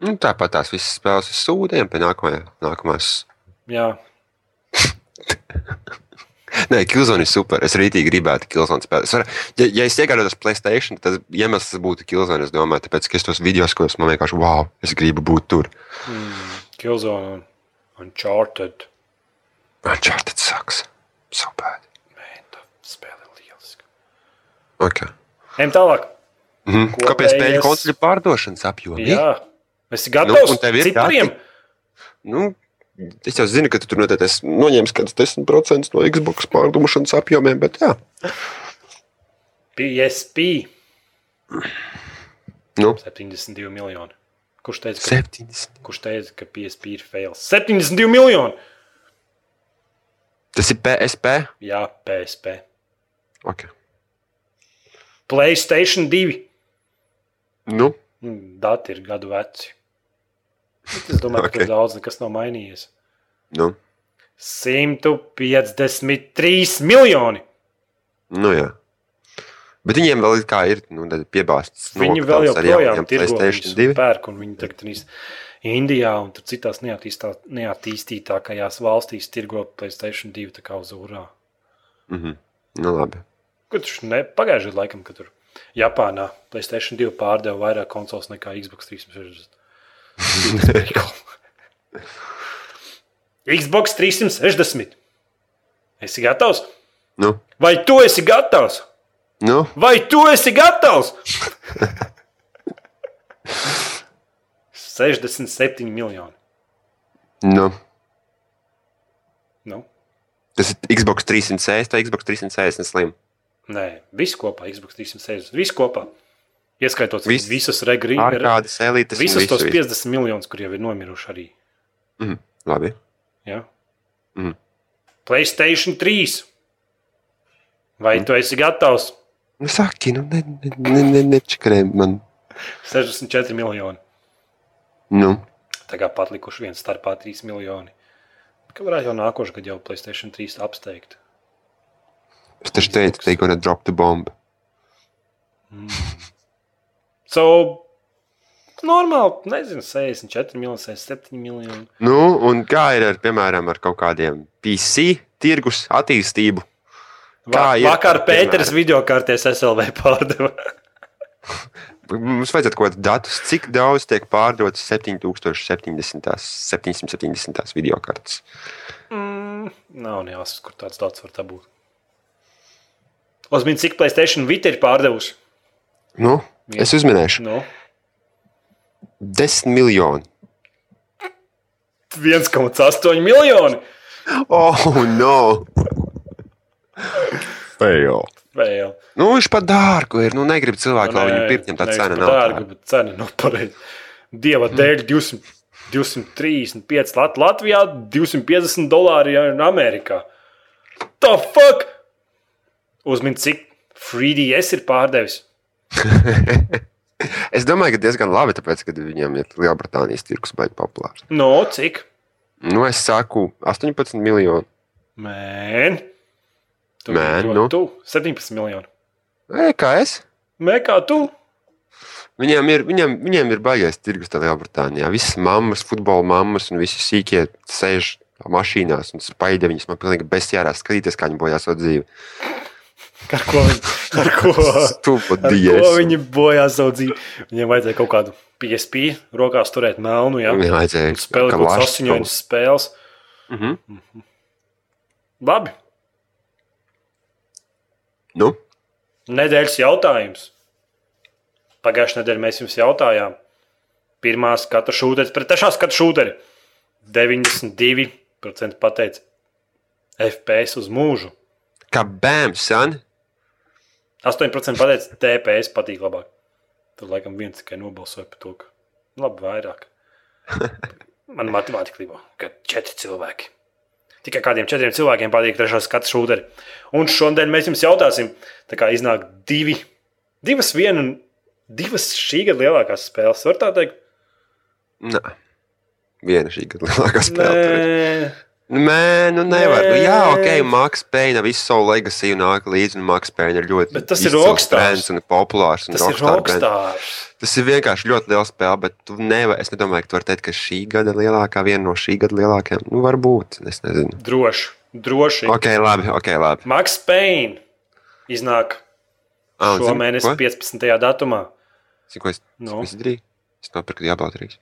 Nu, tāpat tās visas spēles ir sūdiem pie nākamajā, nākamās.
jā,
Nē, Kilzona ir super. Es rītīgi gribētu Kilzona spēlēt. Es varu- Ja, ja es iegādājos Playstation, tad iemesls būtu Kilzona. Es domāju, tāpēc, ka es tos video skatos, man vienkārši wow, es gribu būt tur.
Kilzona un Uncharted.
Uncharted saks. Super.
Man, tā spēle ir lieliska.
Okay.
Ejam tālāk.
Mm -hmm. Kāpēc
Kopējies-
pēļņu konsoļu pārdošanas apjomi?
Jā, mēs esam gatavi.
Nu, un tev ir
cipriem.
Nu, es jau zinu, ka tu tur noteikti esi noņēmis kaut kādus 10% no Xbox pārdošanas apjomiem, bet jā,
PSP
nu,
72 miljoni. Kurš teica,
70.
ka, kurš teica, ka PSP ir fails? 72 miljoni!
Tas ir PSP.
Jā, PSP.
Okay.
Playstation 2.
Nu,
Dati ir gadu veci. Bet Es domāju, okay.
Ok.
ka tur daudz kas nav mainījies.
nu,
153 miljoni.
nu jā. Bet viņiem vēl ir kā ir nu, tad piebāztas.
Viņi vēl joprojām
ir
tirgo viņus
PlayStation 2.
pērk, un viņi tagad ir Indijā un tur citās neattīstā- neattīstītākajās valstīs tirgo Playstation 2 tā kā uz urā.
Mhm. Nu, labi.
Kur Tur ne- pagājušajā gadā, laikam, kad tur Japānā Playstation 2 pārdeva vairāk konsoles nekā Xbox 360. Xbox 360. Esi gatavs?
Nu,
Vai tu esi gatavs?
nu,
Vai tu esi gatavs? 67 miljoni.
nu.
Nu,
Tas ir Xbox 360 vai Xbox 360 slim.
nē, viss kopā, Xbox 360. Viss kopā. Ieskaitot Vis,
Viss.
visus regrīmus,
Ārkārtas elites. un
visus
visu,
tos
visu.
50 miljonus, kur jau ir nomiruši arī.
Mhm. Labi.
Ja?
Mm.
Playstation 3. Vai mm. tu esi gatavs?
Nu, saki, nu, ne, ne, ne, ne, nečakarē man.
64 miljoni.
Nu,
Tagad palikuši viens starpā 3 miljoni. Kā varētu jau nākošais gads jau Playstation 3 apsteigt?
es taču teicu, they gonna drop the bomb.
So, normāli, nezinu, 64 miljoni, 67 miljoni.
Nu, un kā ir ar, piemēram, ar kaut kādiem PC tirgus attīstību?
Va
Kā ir,
vakar
piemēram?
Pēters video kārtēs SLV pārdeva.
Mums vajadzētu kaut kādus datus, cik daudz tiek pārdotas 7070, 770 video kartes.
Mm, nav ne jāsaka, kur tāds dats var tā būt. Uzmini, cik Playstation Vita ir pārdevusi?
Nu, es uzminēšu,
Nu,
10 miljoni.
1,8 miljoni.
Oh, no! Fail.
Vēl.
Nu, viņš pat dārgu ir. Nu, negribu cilvēku, lai viņu pirkt, viņam tā
nevis
cena
par
nav.
Dārga,
tā.
bet cena nav pareiza. Dieva dēļ 200, 235 Lat Latvijā, 250 dolāri jau ir Amerikā. Tā fuck! Uzmin, cik 3DS ir pārdevis.
Es domāju, ka diezgan labi, tāpēc, ka viņam ir Lielbritānijas tirgus baigi populārs.
No, cik?
Nu, es saku 18 miljoni.
Mēn. Tu,
Man,
tu-
nu.
Tu 17 miljoni.
E, kā es?
Mē, kā tu?
Viņiem ir, viņiem, viņiem ir baigais tirgus tajā Lielbritānijā. Visas mammas, futbola mammas un visi sīkie sēž mašīnās un spaida viņas. Man pilnīgi besjārā skatīties, kā viņi bojā savu dzīvi.
Ar ko viņi, ar ko,
Stupa
ar ko
dievs.
viņi bojā savu dzīvi? Viņiem vajadzēja kaut kādu PSP rokās turēt melnu, jā.
Viņam vajadzēja
Un spēlēt kaut
kā
kādas
lašs kaut-
asiņainas spēles.
Mhm.
Labi,
Nu,
nedēļas jautājums. Pagājušajā nedēļā mēs jums jautājām, pirmā skata šūdeņa pret trešā skata šūdeņa 92 90% pateica FPS uz mūžu.
Kā bēm, san.
8% pateica TPS patīk labāk. Tur laikam viens tikai nobalsoja par to, ka labi vairāk. Man matemātikā līnija, ka četri cilvēki. Tikai kādiem četriem cilvēkiem patīk trešās skatu šūderi. Un šodien mēs jums jautāsim, tā kā iznāk divi, divas, viena un divas šī gada lielākās spēles. Var tā teikt?
Nē. Viena šī gada lielākā spēle. tur ir.
Nē,
Nē, nu nevar. Nē.
Nē.
Jā, ok, Maks Pēna visu savu legacy nāk līdzi, un Maks Pēna ir ļoti.
Bet tas ir
izcils
Rockstars.
brands un populārs. Un
tas ir
rockstar brands.
rokstārs.
Tas ir vienkārši ļoti liels spēle, bet tu nevar, es nedomāju, ka tu vari teikt, ka šī gada lielākā, viena no šī gada lielākajām, nu, varbūt. Es nezinu.
Droši, droši.
Ok, labi, ok, labi.
Maks Pēns iznāk
Ah,
šo
zini,
mēnesi
ko?
15. datumā.
Zini, ko es,
Nu.
no. es darīju? Es nopirku Diablo 3.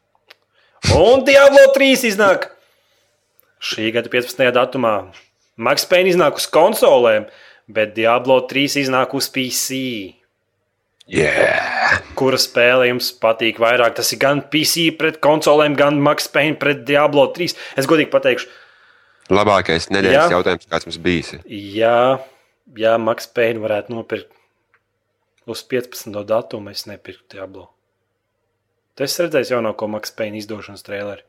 Un Diablo 3 iznāk šī gada 15. datumā. Maks Pēns iznāk uz konsolēm, bet Diablo 3 iznāk uz PC.
Yeah!
Kura spēle jums patīk vairāk? Tas ir gan PC pret konsolēm, gan Maks Pēns pret Diablo 3. Es godīgi pateikšu,
Labākais nedēļas
Jā.
Jā. jautājums, kāds mums bijis.
ja, ja Maks Pēns varētu nopirkt uz 15. datumu, es nepirktu Diablo. Tu esi redzējis jaunāko Maks Pēna izdošanas traileri.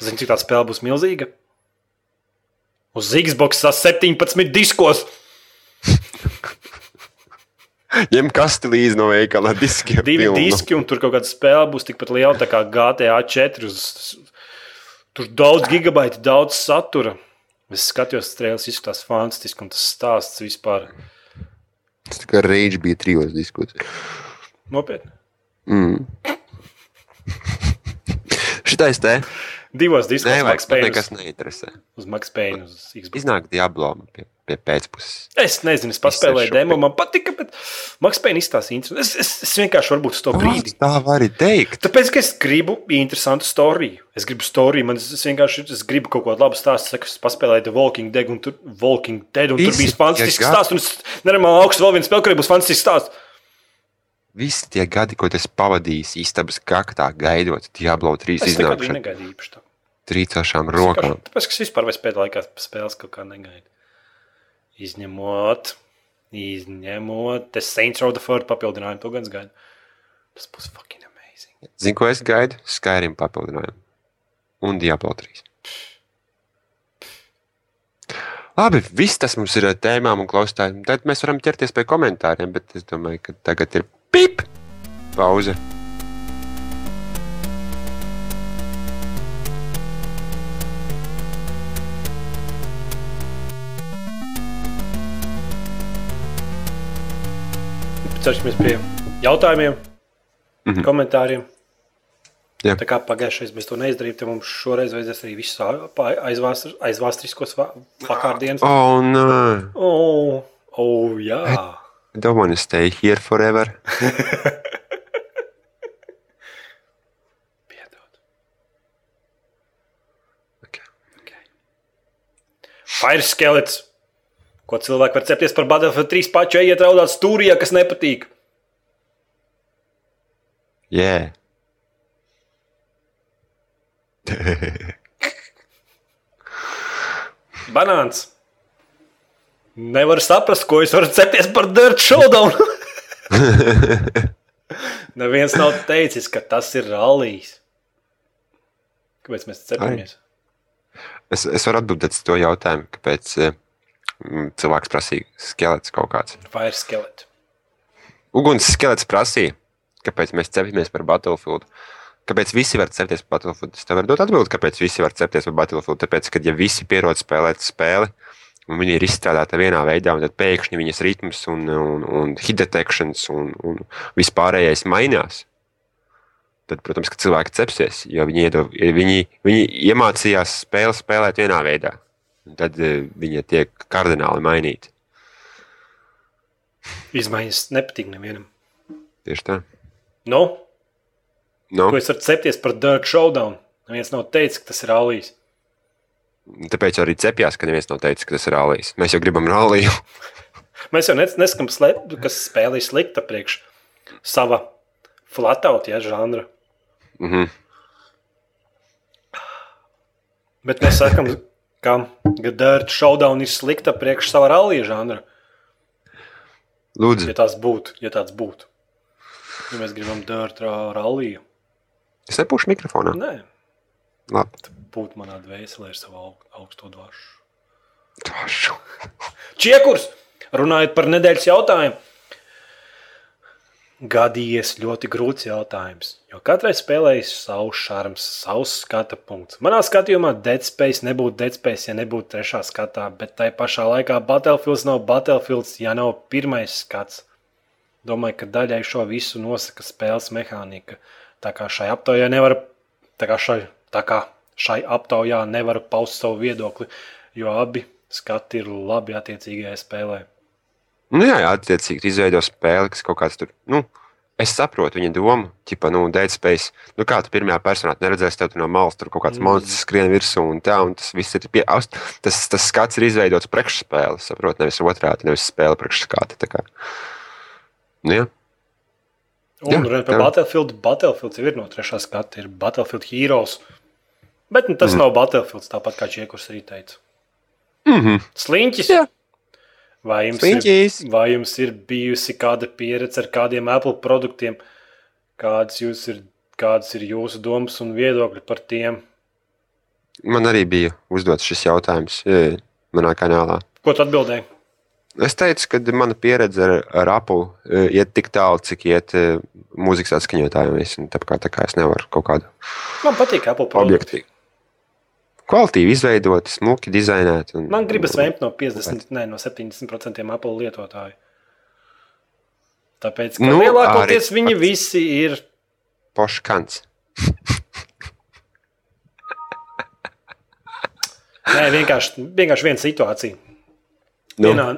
Zini, cik tā spēle būs milzīga? Uz Xbox 17 diskos!
Ņem kasti līdzi no veikala ar diskiem.
divi
pilnu.
diski, un tur kaut kāda spēle būs tikpat liela tā kā GTA 4. Uz, tur daudz gigabaita, daudz satura. Es skatos, strēlis izskatās fantastiski, un tas stāsts vispār
Tas tā kā reģis bija trijos diskos.
nopietni.
Mm. Šitais te
Divos diskos
nevajag, man
spēlēt,
nekas neinteresē.
uz Max Payne, uz Xbox.
Iznāk Diablo pie, pie pēcpuses.
Es nezinu, es paspēlēju
šo
demo,
pie-
man patika, bet Max Payne izstāsta interesanti. Es, es, es vienkārši varbūt uz to brīdi.
Tā var arī teikt.
Tāpēc, ka es gribu interesantu storiju. Es gribu storiju, man es vienkārši es gribu kaut ko labu stāstu. Saku, es paspēlēju The Walking Dead, un tur, Walking Dead, un tur
Visi
bija fantastisks
tie
stāsts. Un es nemanāšu, augstu vēl viens spēle, kur būs fantastisks stāsts.
Visi tie gadi, ko es pavadīju istabas kaktā, gaidot Diablo 3
Es nekad viņu
iznākšanu,
negaidīju īpaši. tā.
trīcošām
Es vienkārši-
rokām.
Tāpēc, ka es vispār vairs pēdējā laikā spēles kaut kā negaidu. Izņemot, izņemot, tas Saints Row the Third papildinājumu to gan es gaidu. Tas būs fucking amazing.
Zini, ko es gaidu? Skyrim papildinājumu. Un Diablo 3. Labi, viss tas mums ir ar tēmām un klausītājiem. Tad mēs varam ķerties pie komentāriem, bet es domāju, ka tagad ir pip! Pauze.
Ceršamies pie jautājumiem, mm -hmm. komentāriem.
Jā.
Tā kā pagājušajā mēs to neizdarījām, tad mums šoreiz vajadzēs arī visus aizvāstr- aizvāstriskos va- vakardienas.
Oh, no.
O, o, jā,
I don't want to stay here forever.
piedod.
Okay.
Fire skelets, ko cilvēki var cepties par Battlefield 3 pašu, ejiet raudāt stūrī, ja kas nepatīk.
Yeah.
Banāns. Nevar saprast, ko es varu cepties par Dirt Showdown. Neviens nav teicis, ka tas ir rallijas. Kāpēc mēs cepamies?
Es, es varu atbildēt uz to jautājumu, kāpēc eh, mm, cilvēks prasīja skelets kaut kāds.
Fire skelet.
Uguns skelets prasīja, kāpēc mēs cepjamies par Battlefield. Kāpēc visi var cepties par Battlefield? Es tev varu dot atbildi, kāpēc visi var cepties par Battlefield. Tāpēc, ka ja visi pierod spēlēt spēli, un viņi ir izstrādāti vienā veidā, un tad pēkšņi viņas ritms un, un, un hit detections un, un vispārējais mainās. Tad, protams, ka cilvēki cepsies, jo viņi, iedo, viņi, viņi iemācījās spēli spēlēt vienā veidā. Un Tad eh, viņi tiek kardināli mainīti.
Izmaiņas nepatīk nevienam.
Tieši tā. Nu?
Nu,
No?
ko es varu cepties par Dirt Showdown? Neviens nav teicis, ka tas ir rallijas.
Tāpēc arī cepjas, ka neviens nav teicis, ka tas ir rallijs. Mēs jau gribam ralliju.
Mēs jau nes- neskam slēpt, kas spēlēja slikta priekš sava flatauta ja, žanra.
Mm -hmm.
Bet mēs sakām, ka Gadards šaudauna ir slikta priekš sava rallija žanra.
Lūdzu,
Ja tās būtu, ja tāds būtu. Ja mēs gribam dārtu ralliju,
es nepūšu mikrofonā.
nē,
Labi.
būtu manā dvēselē ar savu aug- augsto dvašu.
Dvašu.
Čiekurs, runājot par nedēļas jautājumu. Gadījies ļoti grūts jautājums, jo katrai spēlēji savs šarms, savs skata punkts. Manā skatījumā Deadspējas nebūtu Deadspējas, ja nebūtu trešā skatā, bet tai pašā laikā Battlefields nav Battlefields, ja nav pirmais skats. Domāju, ka daļai šo visu nosaka spēles mehānika. Tā kā šai aptaujā nevar, tā kā šai, tā kā šai aptaujā nevar paust savu viedokli, jo abi skati ir labi attiecīgajai spēlē.
Nu, jā, jā, attiecīgi, tu izveido spēli, kas kaut kāds tur. Nu, es saprotu viņa domu, tipā, nu, Dead Space. Nu, kā tu pirmajā personā tu neredzēsi, tev tur no malas tur kaut kāds mm. monstrs skrien virsū un tā, un tas viss ir pie aust. Tas, tas skats ir izveidots priekšspēle, saprotu, nevis otrādi, nevis spēle priekšskata. tā kā. Nu, jā.
Un
Jā,
runājot par
jā.
Battlefield, Battlefield jau ir no trešā skata, ir Battlefield Heroes. Bet nu,
Mhm.
tas mm. nav Battlefield, tāpat kā Čiekurš arī teica.
Mm -hmm.
Sliņķis!
Jā.
Vai jums,
Sliņķis.
ir, vai jums ir bijusi kāda pieredze ar kādiem Apple produktiem? Kādas, jūs ir, kādas ir jūsu domas un viedokļi par tiem?
Man arī bija uzdots šis jautājums e, manā kanālā.
Ko tu atbildēji?
Es teicu, ka mana pieredze ar, ar Apple e, iet tik tālu, cik iet e, mūzikas atskaņotājiem. Es, tā, kā, tā kā es nevaru kaut kādu
Man patīk Apple produkti.
objektīvu. Kvalitīvi izveidot, smuki dizainēt. Un,
Man gribas vēmt no 50, nē, no 70% Apple lietotāju. Tāpēc, ka nu,
Nu,
lielākoties
arī-
viņi visi ir
Poškants.
Nē, vienkārši, vienkārši viena situācija. Nu.
Nu.
Vienā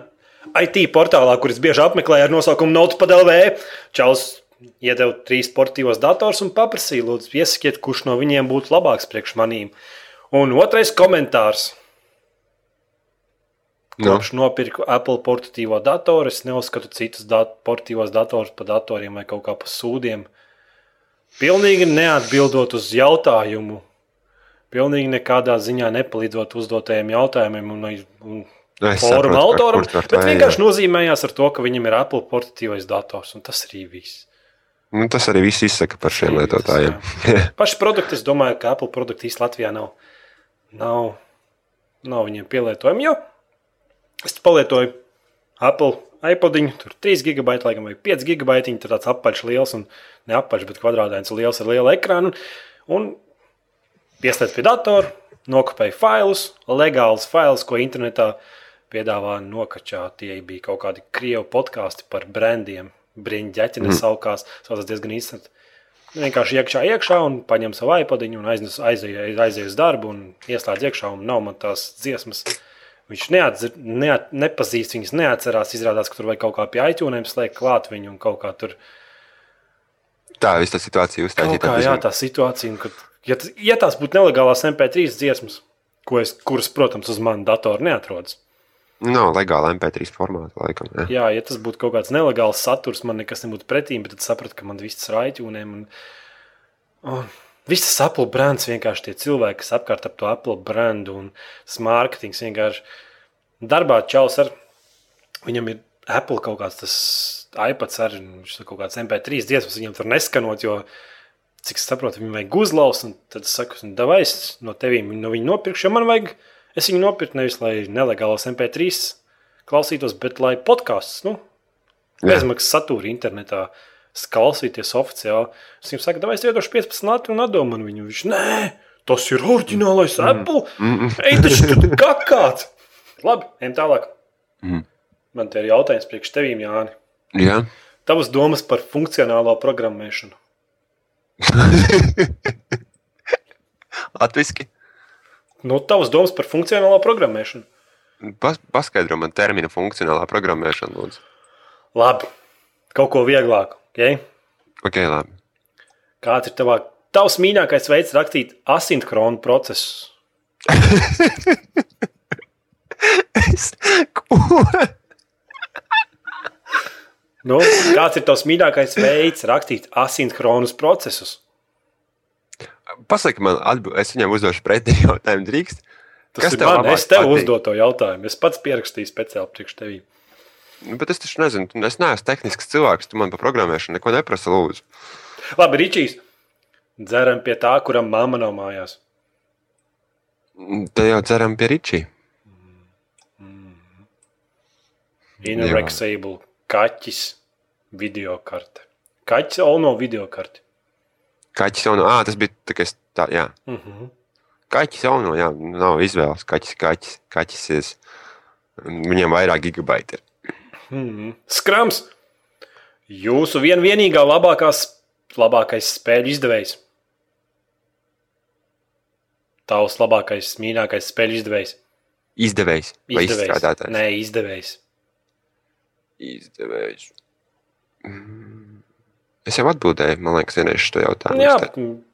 IT portālā, kuras bieži apmeklēju ar nosaukumu Notepad.lv, Čels iedeva trīs sportīvos dators un paprasīja, lūdzu, iesakiet, kurš no viņiem būtu labāks priekš manīm. Un otrais komentārs.
Nu,
Kopš nopirku Apple portatīvo datoru, es neuzskatu citus dat portatīvos datorus par datoriem vai kaut kā par sūdiem. Pilnīgi neatbildot uz jautājumu, pilnīgi nekādā ziņā nepalīdzot uzdotajiem jautājumiem un, un
nu, es saprotu,
fóruma
par
autoram,
kur tu ar to
bet
ej,
vienkārši nozīmējās ar to, ka viņam ir Apple portatīvais dators, un tas arī viss.
jā. Nu, tas arī viss izsaka par šiem
Arī viss,
lietotājiem.
Paši produkti, es domāju, ka Apple produkti īstenībā Latvijā nav, nav, nav viņiem pielietojami. Jo es palietoju Apple iPodiņu, tur 3 gigabaiti, laikam, vai 5 gigabaiti. Tur tāds apaļš liels, un ne apaļš, bet kvadrātains liels ar lielu ekrānu. Un pieslēdz pie datora, nokopēju failus, legālus failus, ko internetā piedāvā nokačā. Tie bija kaut kādi krievu podkāsti par brendiem. Brīņķeķi nesaukās, tas diezgan īstenībā. Vienkārši iekšā, iekšā un paņem savu iPadiņu, un aiznes- aizej aizej uz darbu, un ieslēdz iekšā, un nav man tās dziesmas. Viņš neatzir, neat, nepazīst viņas, neatcerās. Izrādās, ka tur vajag kaut kā pie aizķūnēm slēgt klāt viņu un kaut kā tur.
Tā viss tā situācija
Kaut
uztaisīta.
kā jā, tā situācija, un kad, ja, tas, ja tās būtu nelegālās MP3 dziesmas, ko es, kuras, protams, uz mana datora neatrodas.
Nu, Nav legāla MP3 formāta, laikam. jā.
Jā, ja tas būtu kaut kāds nelegāls saturs, man nekas nebūtu pretī, bet tad sapratu, ka man viss tas raidījumiem un, un viss tas Apple brands vienkārši tie cilvēki, kas apkārt ap to Apple brandu un tas mārketings vienkārši darbā čels ar viņam ir Apple kaut kāds tas iPads ar un viņš tur kaut kāds MP3 dziesmas viņam tur neskanot, jo cik es saprotu, viņam vajag uzlaust, un tad es saku, nu, davai es no tevīm no viņu nopirkšu, jo man vajag, es viņu nopirku nevis, lai nelegālos MP3 klausītos, bet lai podkāsts, nu,
Jā.
bezmaksas satura internetā s- klausīties oficiāli. Es viņam saku, davai es iedošu 15 lati un atdomu man viņu. Viņš, nē, tas ir oriģinālais mm. Apple. Mm. Ej, taču tu kakāt! Labi, ejam tālāk.
Mm.
Man te ir jautājums priekš tevīm, Jāni.
Jā.
Tavas domas par funkcionālo programmēšanu.
Latviski.
Nu, tavas domas par funkcionālo programmēšanu.
Pas, paskaidro man terminu funkcionālā programmēšana, lūdzu.
Labi, kaut ko vieglāku. Okay?
Ok, labi.
Kāds ir tavā, tavs mīļākais veids rakstīt asinhronu procesu?
Es- Ko?
Nu, kāds ir tavs mīļākais veids rakstīt asinhronus procesus?
Pasaki man, atbild, es viņam uzdošu pretī jautājumu, drīkst.
Tas Kas ir man, es tev uzdotu to jautājumu. Es pats pierakstīju speciāli priekš tevis.
Nu, bet es taču nezinu, tu- es neesmu tehnisks cilvēks, tu man par programmēšanu neko neprasa, lūdzu.
Labi, Ričijs. Dzeram pie tā, kuram mamma nav mājās.
Tad jau ceram pie Ričija.
Inorexable kaķis video karte. Kaķis jau no video karte.
Kaķis jau no, ah, tas bija tā, kas tā, jā.
Uh -huh.
Kaķis jau no, jā, nu, nav izvēles. Kaķis, kaķis, kaķis ir. Viņam vairāk gigabaiti ir.
Mm -hmm. Skrams! Jūsu vien vienīgā labākās, labākais spēļu izdevējs. Tavs labākais, mīļākais spēļu izdevējs.
Izdevējs vai
Izdevējs.
izstrādātājs?
Nē, izdevējs.
Izdevējs. Mm. Es jau atbildēju, man liekas, vienreiz šo jautājumu.
Jā,
Es te-
m,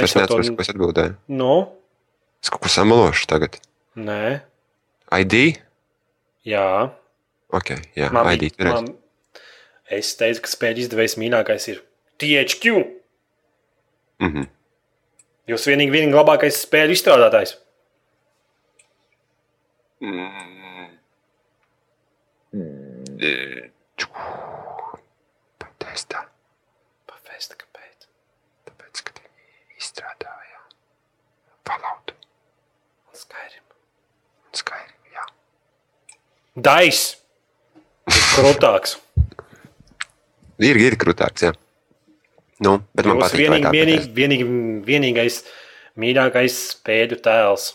mēs
vairs
jau to
neatceros, ko es atbildēju.
Nu,
Es kaut ko samalošu tagad.
nē,
ID?
jā.
Ok, jā,
Man
ID.
bija-
tur ir.
man- Es teicu, ka spēļu izdevējs mīļākais ir THQ.
Mhm.
Jūs vienīgi, vienīgi labākais spēļu izstrādātājs.
Pateic tā,
Pafēsta, kāpēc?
tāpēc, ka viņi izstrādāja Falloutu
Skaidri.
un Skyrim. Jā.
Dais! Krūtāks.
Ir, ir krūtāks, jā. Nu, bet man
Jūs
patīk, vai
vienīgi,
tā
vienīgi,
vienīgi...
vienīgi, vienīgais mīļākais spēļu tēls.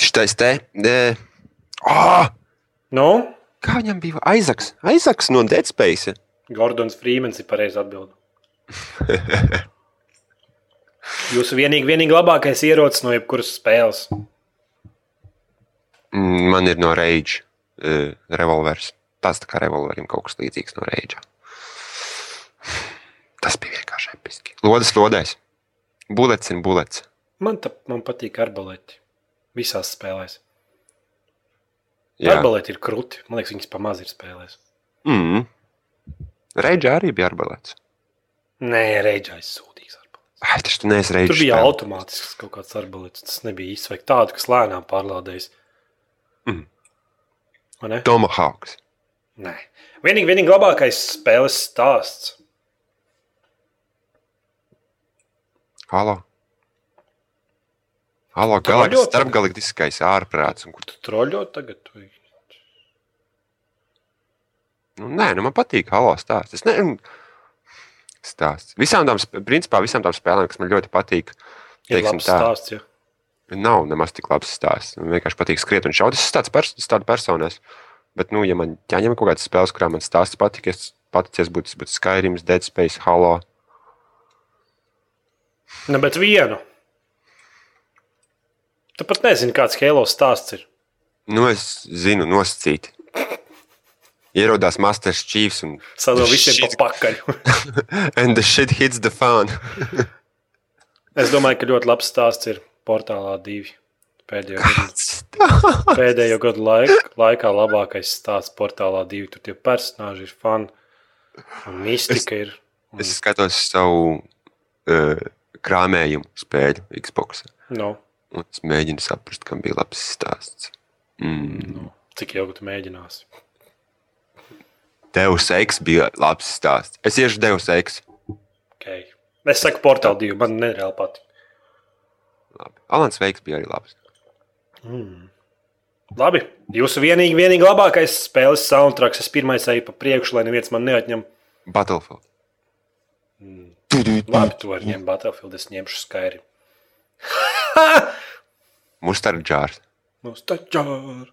Šitais Mm, te. Nē. Oh,
Nu,
kā viņam bija Aizaks? Aizaks no Dead Space.
Gordons Frīmens ir pareizi atbild. Jūsu vienīgi, vienīgi labākais ierocis no jebkuras spēles.
Mm, Man ir no Rage uh, revolvers. Tas tā kā revolverim kaut kas līdzīgs no Rage. Tas bija vienkārši episki. Lodes, lodēs. Bulets ir bulets.
Man, ta, man patīk arbalēti. Visās spēlēs.
Jā.
Arbalēti ir krūti. Man liekas, viņas pamaz ir spēlēs.
Mm. Reģē arī bija arbalēts.
Nē, reģais sūdīgs arbalēts.
Ai, tas tu neesi reģē.
Tur bija automātisks kaut kāds arbalets. Tas nebija īsts vai tāds, kas lēnām pārlādējas.
Mm.
Vai ne?
Tomahawks.
Nē. Vienīgi, vienīgi labākais spēles stāsts.
Halo. Halo,
Tu vaļo
galaktiskais,
tagad?
starpgalaktiskais ārprāts. Un, kur,
Tu troļļo tagad. Tu...
nu, nē, nu, man patīk halo stāsts. Es nezinu, stāsts. Visām tām, sp- principā, visām tām spēlēm, kas man ļoti patīk,
Ir
Teiksim
labs
tā.
stāsts. Ja.
nav nemaz tik labs stāsts. Man vienkārši patīk skriet un šaut. Es esmu tāds pers es tāda persona. esmu. Bet, nu, ja man ķēņem kaut kādas spēles, kurām man stāsts patīk, es paticies būtu, tas būtu Skyrim, Dead Space, Halo.
Ne, Nu, bet vienu. Tu pat nezini, kāds Halo stāsts ir.
Nu, es zinu, nosacīti. Ierodās Masters Chiefs un
Sadalīt visiem
Shit.
pa pakaļ.
And the shit hits the fan.
es domāju, ka ļoti labs stāsts ir portālā divi. Pēdējo, gadu-
Tā.
pēdējo gadu laik, laikā labākais stāsts portālā divi. Tur tie personāļi ir fani. Un mistika ir. Un,
Mm. Es skatos savu uh, krāmējumu spēļu Xbox.
no.
Un es mēģinu saprast, kam bija labs stāsts. Mm.
Nu, Cik ilgi tu mēģināsi?
Deus Ex bija labs stāsts. Es iešu Deus Ex.
Okay. Es saku, portāla divi. Man nereāli patīk.
Labi. Alans Veiks bija arī labs.
Labi. Jūsu vienīgi, vienīgi labākais spēles soundtracks. Es pirmais eju pa priekšu, lai neviens man neatņem.
Battlefield.
Labi, tu vari ņemt Battlefield. Es ņemšu skaidri.
Mustard Jars.
Mums taču ir.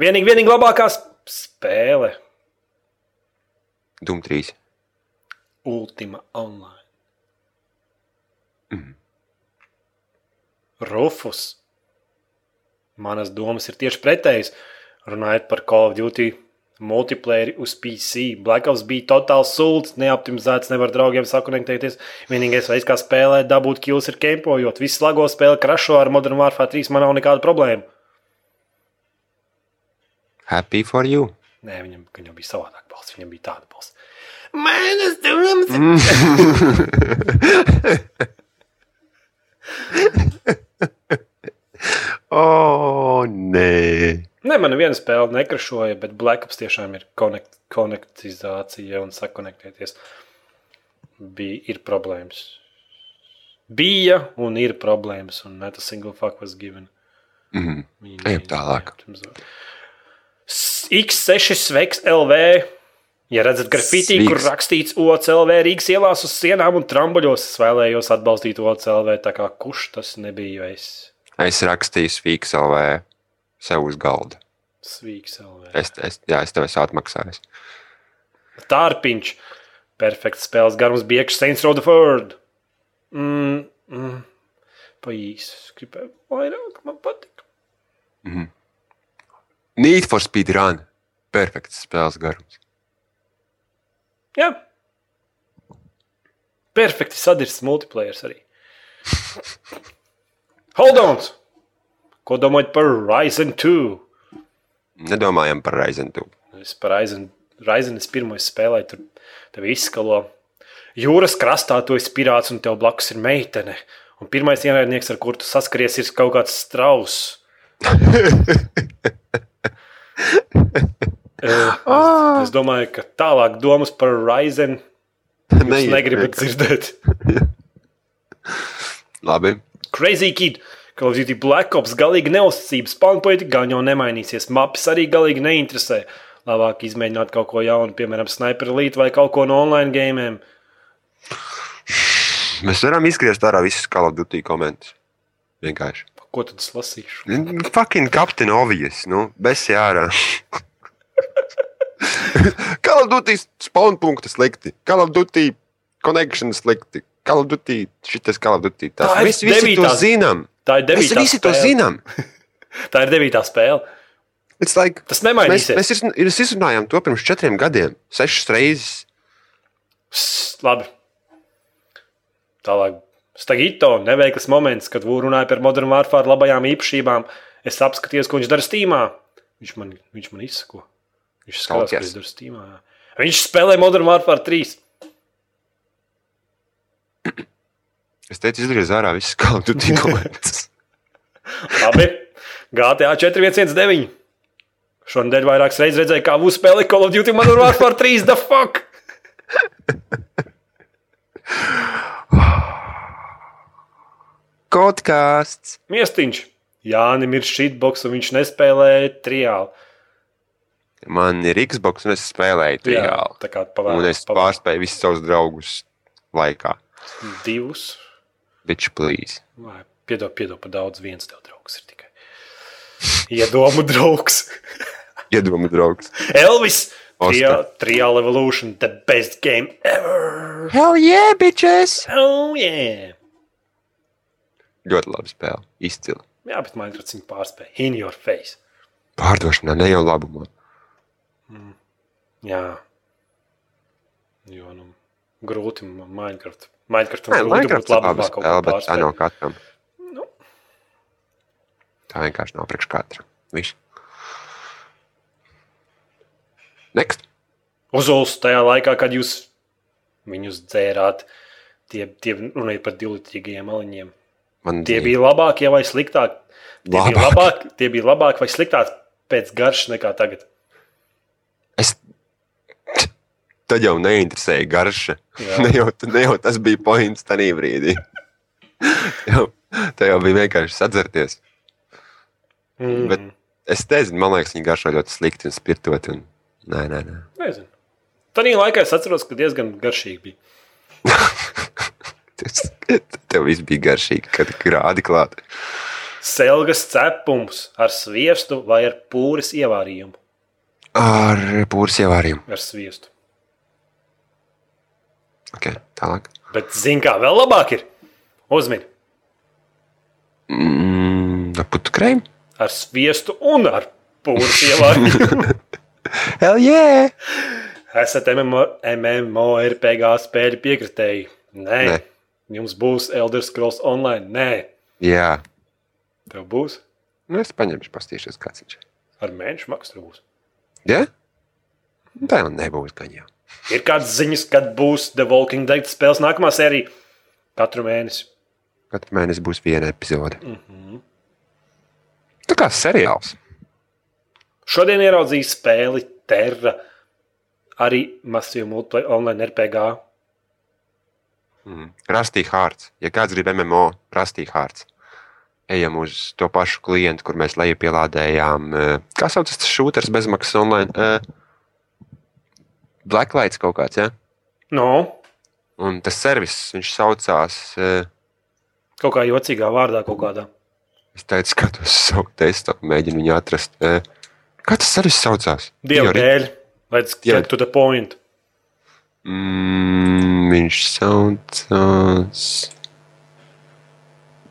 Vienīgi, vienīgi labākā sp- spēle.
Doom 3.
Ultima online. Rufus. Manas domas ir tieši pretējas. Runājot par Call of Duty multiplayer uz PC. Black Ops bija totāli sūds, neoptimizēts, nevar draugiem sakonektēties. Vienīgais veids, kā spēlēt, dabūt kills ir kempojot. Viss lago spēle krašo ar Modern Warfare 3, man nav nekāda problēma.
Happy for you.
Nē, viņam, viņam bija savādāk balss, viņam bija tāda balss. Manas domas ir
O, nē.
Nē, man viena spēle nekrašoja, bet Black Ops tiešām ir konekt, konektizācija un sakonektēties. Bija ir problēmas. Bija un ir problēmas, un ne tas single fuck was given.
Mm.
Viņi-
Ejam tālāk.
Jā, S- X6 sveiks LV. Ja redzat grafitī,
Sveiks.
kur rakstīts OCLV Rīgas ielās uz sienām un trambuļos, es vēlējos atbalstīt OCLV, tā kā kurš tas nebija es.
Es rakstīju Fīks LV sev uz galda.
Svīks LV.
Es, es, jā, es tev esmu atmaksājis.
Tārpiņš. Perfekts spēles garums bija iekšā Saints Row the Ford. Mm, mm. Pa īsu. Es gribēju vairāk, man patīk.
Need for Speed Run. Perfekts spēles garums.
Jā. Perfekti sadirsts multiplayer arī. Hold on! Ko domājat par Ryzen 2?
Nedomājam par Ryzen 2.
Es par Ryzen, Ryzen es pirmo spēlēju, tur tev izskalo. Jūras krastā tu esi pirāts, un tev blakus ir meitene. Un pirmais ienaidnieks, ar kuru tu saskaries, ir kaut kāds strauss. Eh, es, es domāju, ka tālāk domas par Ryzen jūs negribat dzirdēt.
Labi.
Crazy Kid, Call of Duty Black Ops galīgi neuzticības, panpoeti gan jau nemainīsies, maps arī galīgi neinteresē. Labāk izmēģināt kaut ko jaunu, piemēram, sniper līniju vai kaut ko no online gēmiem.
Mēs varam izgriezt ārā visas Call of Duty komentus. Vienkārši.
Ko tad es lasīšu?
Fucking Captain Obvious, nu, besi ārā. Call of Duty spawn punkti slikti. Call of Duty connection slikti. Call of Duty šitas Call of Duty. Tas
Tā ir
viss visi to
devītās-
zinām.
Tā ir
Mēs
devītā
visi to
spēle.
zinām.
Tā ir devītā spēle.
It's like,
Tas
mēs,
nemainīsies.
mēs izrun- mēs izrunājām to pirms četriem gadiem. Sešas reizes.
Pss, Labi. Tālāk. Stagito neveikls moments, kad Vūra runāja par modernu Warfare labajām īpašībām. Es apskatījos, ko viņš dara Steamā. Viņš man, viņš man izsako. Viņš skatās, ko
Stalkers.
viņš dara Steamā. jā. Viņš spēlē Modern Warfare 3.
Es teicu, izgriezt ārā visas Call of Duty komentus.
Labi. GTA 4119. Šonadēļ vairākas reizes redzēju, kā Vūra spēlē Call of Duty Modern Warfare 3. The fuck!
Kodkāsts.
Miestiņš. Jānim ir šitboks, un viņš nespēlē triālu.
Man ir Xbox, un es spēlēju
Jā,
triālu.
tā kā
Un
pavēlēts
es pārspēju visus savus draugus laikā.
divus.
Bitch, please.
Vai, Piedod, piedod, par daudz. Viens tev draugs ir tikai. Iedomu draugs.
Iedomu draugs.
Elvis!
Osta.
Tria- Trial Evolution, the best game ever!
Hell yeah, bitches!
Oh, yeah!
Ļoti labi spēle. Izcili.
Jā, bet Minecraft viņa pārspēja. In your face.
Pārdošanā ne jau labumā.
Jā. Jo, nu, grūti ma- Minecraft. Minecraft
Nē, Minecraft ir
kā
laba
kaut
spēle,
ko
bet tā nav
pārspēt.
katram.
Nu.
Tā vienkārši nav priekš katra. Viss. Next.
Uzuls tajā laikā, kad jūs viņus dzērāt, tie, tie runāja par divlitrīgajiem aliņiem.
Man
Tie bija labākie vai sliktākie? Tie labāk. bija
Labāk.
labāki tie bija labāk vai sliktāki pēc garšas nekā tagad.
Es... Tad jau neinteresēja garša.
Jā.
Ne jau, ne jau tas bija points tajā brīdī. jau, tā jau bija vienkārši sadzerties.
Mm.
Bet- Es nezinu, man liekas, viņi garšo ļoti slikti un spirtoti. Un... Nē, nē, nē.
Nezinu. Tajā laikā es atceros, ka diezgan garšīgi bija.
Tas- Tev viss bija garšīgi, kad grādi klāta.
Selgas cepums ar sviestu vai ar pūles ievārījumu.
Ar pūles ievārījumu.
Ar sviestu.
Okay, tālāk.
Bet zini, kā vēl labāk ir? Uzmini,
Mm, Putu krējumu.
ar sviestu un ar pūles ievārījumu.
Hell yeah!
Esat MMO, MMORPG spēļu piekritēji. Nē. Nē,
Nē.
jums būs Elder Scrolls Online. Nē,
Jā,
tev būs
nu es paņemšu, pastīšos, kāds viņš ir.
ar mēnešu maksu. tev būs.
Ja? Tā jau nebūs gaņa.
Ir kādas ziņas, kad būs The Walking Dead spēles nākamā sērija katru mēnesi.
Katru mēnesi būs viena epizode. Mm -hmm. Tā kā seriāls.
Šodien ieraudzīju spēli Terra, arī masīvu multiplayer online RPG.
Rastīja hārts. Ja kāds grib MMO, rastīja hārts. Ejam uz to pašu klientu, kur mēs lejupielādējām. eh, Kā saucas tas šūters bezmaksas online? Eh, Blacklights kaut kāds, ja?
No,
Un tas servis, viņš saucās. eh,
kaut kā jocīgā vārdā kaut kādā.
Es teicu, skatos savu desktopu, mēģinu viņu atrast. Eh, Kā tas servis saucās?
Dieva
Priori-
dēļ, let's
Jā.
get to the point.
Mm, viņš saucās.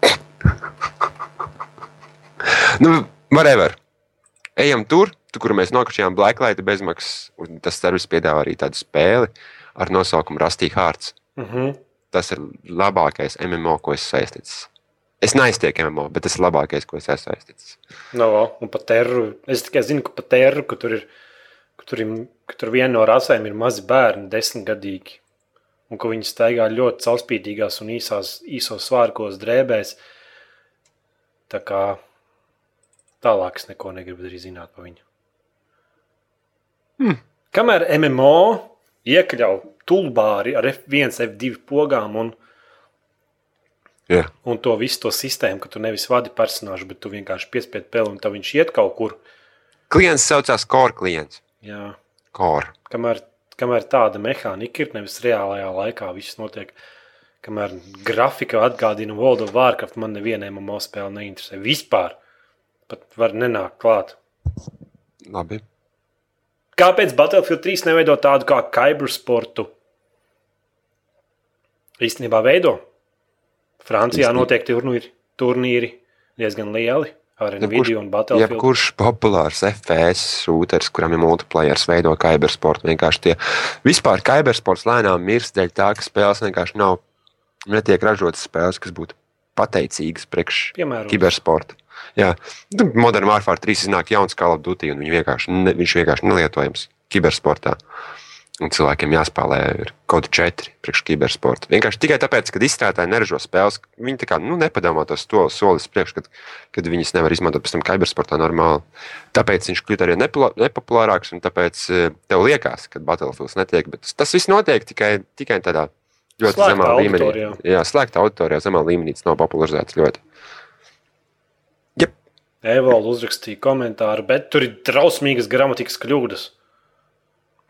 nu, whatever. Ejam tur, tu, kur mēs nokrājām Blacklight bezmaksas. un Tas servis piedāvā arī tādu spēli ar nosaukumu Rusty Hearts.
Uh -huh.
Tas ir labākais MMO, ko es esmu saistīts. Es neiztieku MMO, bet tas ir labākais, ko es esmu saistīts.
no, un par terru. Es tikai zinu, ka par terru, ka tur ir, ka tur ir, ka tur viena no rasēm ir mazi bērni, desmitgadīgi. Un ka viņi staigā ļoti caurspīdīgās un īsās, īsos svārkos drēbēs. Tā kā tālāk es neko negribu arī zināt par viņu. Kamēr MMO iekļauj tulbāri ar F1, F2 pogām un
Yeah.
un to visu to sistēmu, ka tu nevis vadi personāžu, bet tu vienkārši piespied peli un tā viņš iet kaut kur.
Klients saucās Core klients.
Jā.
Core.
Kamēr, kamēr tāda mehānika ir, nevis reālajā laikā viss notiek, kamēr grafika atgādina World of Warcraft, man nevienai MMO spēle neinteresē. Vispār pat var nenākt klāt.
Labi.
Kāpēc Battlefield 3 neveido tādu kā kibersportu? Īstenībā veido. Francijā
Īstenībā.
noteikti turnīri, turnīri diezgan lieli ar Nvidia un Battlefield.
Nu, Jebkurš populārs FPS šūters, kuram ir multiplayer, veido kibersportu. Vienkārši tie vispār kibersports lēnām mirst dēļ tā, ka spēles vienkārši nav. Netiek ražotas spēles, kas būtu pateicīgas priekš
Piemērotas.
kibersporta. Jā, Nu, Modern Warfare 3 iznāk jauns Call of Duty, un viņi vienkārši ne, viņš vienkārši nelietojams kibersportā. Un cilvēkiem jāspēlē ir kaut kāda četri priekš kibersporta. Vienkārši tikai tāpēc, ka izstrādātāji neražo spēles, viņi tā kā nu, nepadomā tos to solis priekš, kad, kad viņas nevar izmantot pēc tam kibersportā normāli. Tāpēc viņš kļūst arī nepla- nepopulārāks, un tāpēc eh, tev liekas, ka Battlefields netiek. Bet tas- tas viss notiek tikai, tikai tādā ļoti
Slēgtā
zemā līmenī.
auditorijā.
Jā, slēgta auditorijā, zemā līmenī tas nav popularizēts ļoti.
Evolūcija uzrakstīja komentāru, bet tur ir drausmīgas gramatikas kļūdas.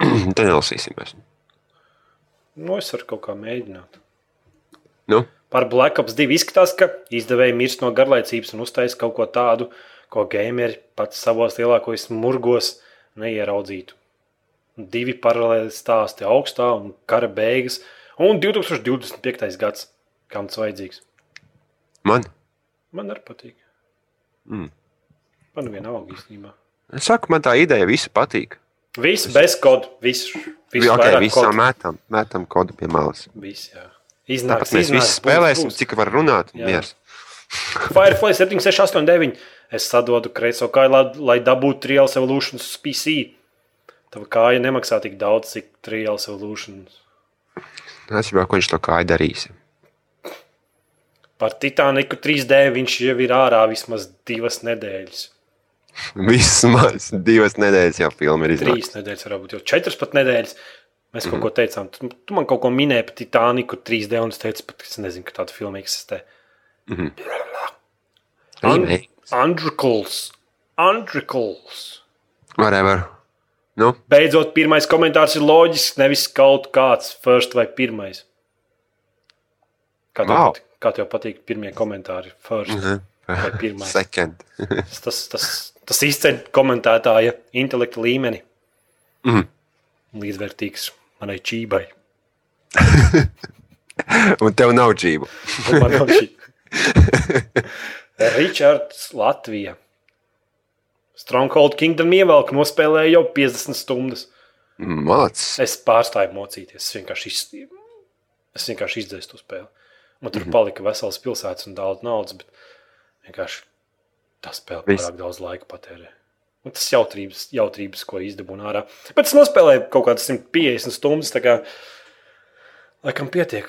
Mhm, Tad nelasīsimies.
Nu, es varu kaut kā mēģināt.
Nu?
Par Black Ops 2 izskatās, ka izdevēji mirst no garlaicības un uztais kaut ko tādu, ko gameri pats savos lielākajos murgos neieraudzītu. Divi paralēli stāsti - augstā un kara beigas, un 2025. gads, kam tas vajadzīgs.
Man?
Man arī patīk.
Mm.
Man vienalga īstenībā.
Es saku, man tā ideja visu patīk.
Viss bez kodu, viss.
Visu okay, visā mētam, mētam kodu pie malas.
Viss, jā.
Tāpat
Iznāks,
mēs visi spēlēsim, cik var runāt.
Jā.
miers.
Firefly 7689. Es sadodu kreiso kāju, lai, lai dabūtu Trials Evolutions uz PC. Tava kāja nemaksā tik daudz, cik Trials Evolutions.
Es jau ko viņš to kā darīs.
Par Titaniku 3D viņš jau ir ārā vismaz divas nedēļas.
Vismaz divas nedēļas jau filma ir iznākusi.
Trīs nedēļas, varbūt jau četras pat nedēļas. Mēs kaut ko teicām. Tu, tu man kaut ko minēji par Titaniku 3D, un es teicu, pat es nezinu, ka tāda filma eksistē.
Remake.
Andrikls. Andrikls.
Whatever. Nu,
Beidzot, pirmais komentārs ir loģisks, nevis kaut kāds first vai pirmais. Kā tev,
Wow. Mhm.
wow. kā tev patīk pirmie komentāri? First vai pirmais?
second.
Tas, tas, tas, tas izceļ komentētāja intelektu līmeni.
Mhm.
Līdzvērtīgs manai čībai.
Un tev nav džību.
Un man nav šī. Ričards Latvija. Stronghold Kingdom ievelk nospēlēja jau 50 stundas.
Mācis.
Es pārstāju mocīties. Es vienkārši, iz... es vienkārši izdzēsu to spēli. Man
Mhm.
tur palika vesels pilsētas un daudz naudas, bet vienkārši tā spēle
Viss.
pārāk daudz laika patērē. Un tas jautrības, jautrības, ko izdabūna ārā. Bet es nospēlēju kaut kādas 150 stundas. Tā kā laikam pietiek.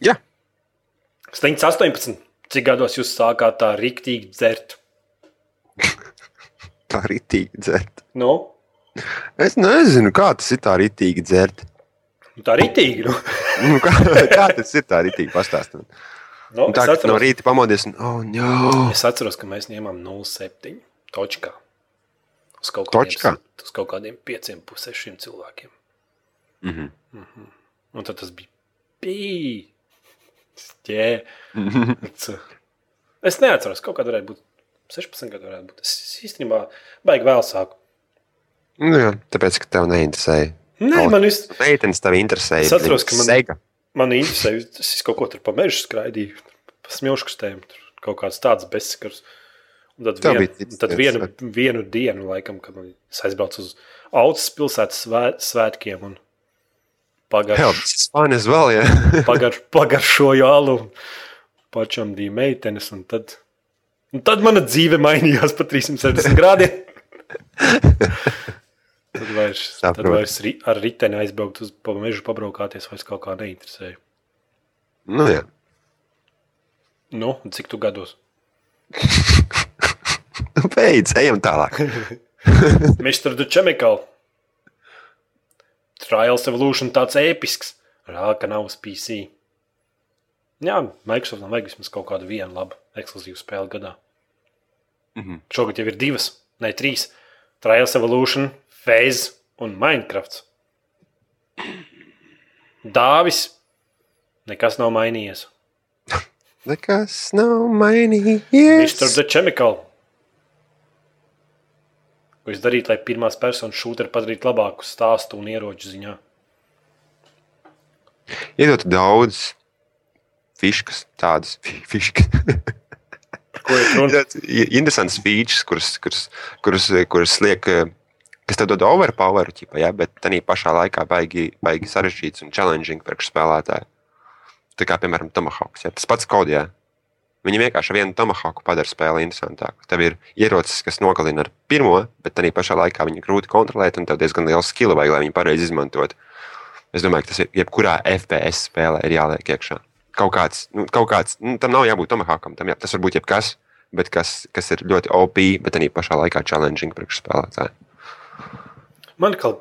Jā.
Steigts 18. Cik gados jūs sākāt tā rīktīgi dzert?
Tā ir itīgi dzert.
Nu,
Es nezinu, kā tas ir tā itīgi dzert.
nu tā rītīgi. Nu.
Nu, kā, kā tas ir tā itīgi pastāstīt?
Nu, es,
Tā kā no
atceros,
rīta pamodies, un, oh, no.
es atceros, ka mēs ņēmām 0,7. Točkā. Uz kaut,
Točkā?
kādiem, uz kaut kādiem 5,5 cilvēkiem. Mhm.
Mm -hmm.
Un tad tas bija pīķis. Yeah.
Mhm.
Es neatceros, kaut kāda varētu būt 16 gadu. Varētu būt. Es īstenībā baigi vēl sāku.
nu, jā, tāpēc, ka tev neinteresēja.
Nē,
Kaut-
man, vis,
Meitenes tev interesēja.
Es atceros, ka man-
Sega.
man interesēja, tas ir kaut ko tur pa mežu skraidīju, pa smilškustēm, tur kaut kāds tāds bezskars. Un tad
Tev
vien,
bija cits
tad
cits,
vienu,
vai?
vienu dienu, laikam, kad man- es aizbraucu uz Autas pilsētas svē, svētkiem un
Jā,
pagājušajā
tas ir fani vēl, jā.
pagar, pagaršoju alu un pačam bija meitenes. Un tad, un tad mana dzīve mainījās pa 360 grādiem. tad vairs, tad
Saprotu.
vairs ri, ar riteni aizbraukt uz pa mežu, pabraukāties, vairs kaut kā neinteresēja.
Nu, jā.
Nu, un cik tu gados?
Nu, Beidz, ejam tālāk.
Mr. The Chemical. Trials Evolution tāds episks. Rāka nav uz PC. Jā, Microsoftam vajag vismaz kaut kādu vienu labu ekskluzīvu spēli gadā.
Mhm.
Šogad jau ir divas, ne trīs. Trials Evolution, Phase un Minecraft. Dāvis. Nekas nav mainījies.
Nekas nav mainījies.
Mr. The Chemical. Ko es darītu, lai pirmās personas šūnu padarītu labāku stāstu un ieroču ziņā?
Iedot daudz fiškas, tādas fi- fiškas.
Par ko ir runa?
Iedot i- Interesantas features, kuras, kuras, kuras, kuras liek, eh, kas tev dod overpoweru, ķipa, ja? bet tā pašā laikā baigi, baigi sarežģīts un challenging priekš spēlētāju. Tā kā, piemēram, Tomahawks. Ja? Tas pats kodijā. Viņi vienkārši ar vienu tomahawku padara spēli interesantāku. Tev ir ierocis, kas nogalina ar pirmo, bet tā pašā laikā viņu grūti kontrolēt, un tev diezgan liela skila vajag, lai viņu pareizi izmantotu. Es domāju, ka tas ir jebkurā FPS spēlē ir jāliek iekšā. Kaut kāds, nu, kaut kāds nu, tam nav jābūt tomahawkam, tam jā, tas var būt jebkas, bet kas, kas ir ļoti OP, bet arī pašā laikā challenging priekšspēlētāji.
Man kā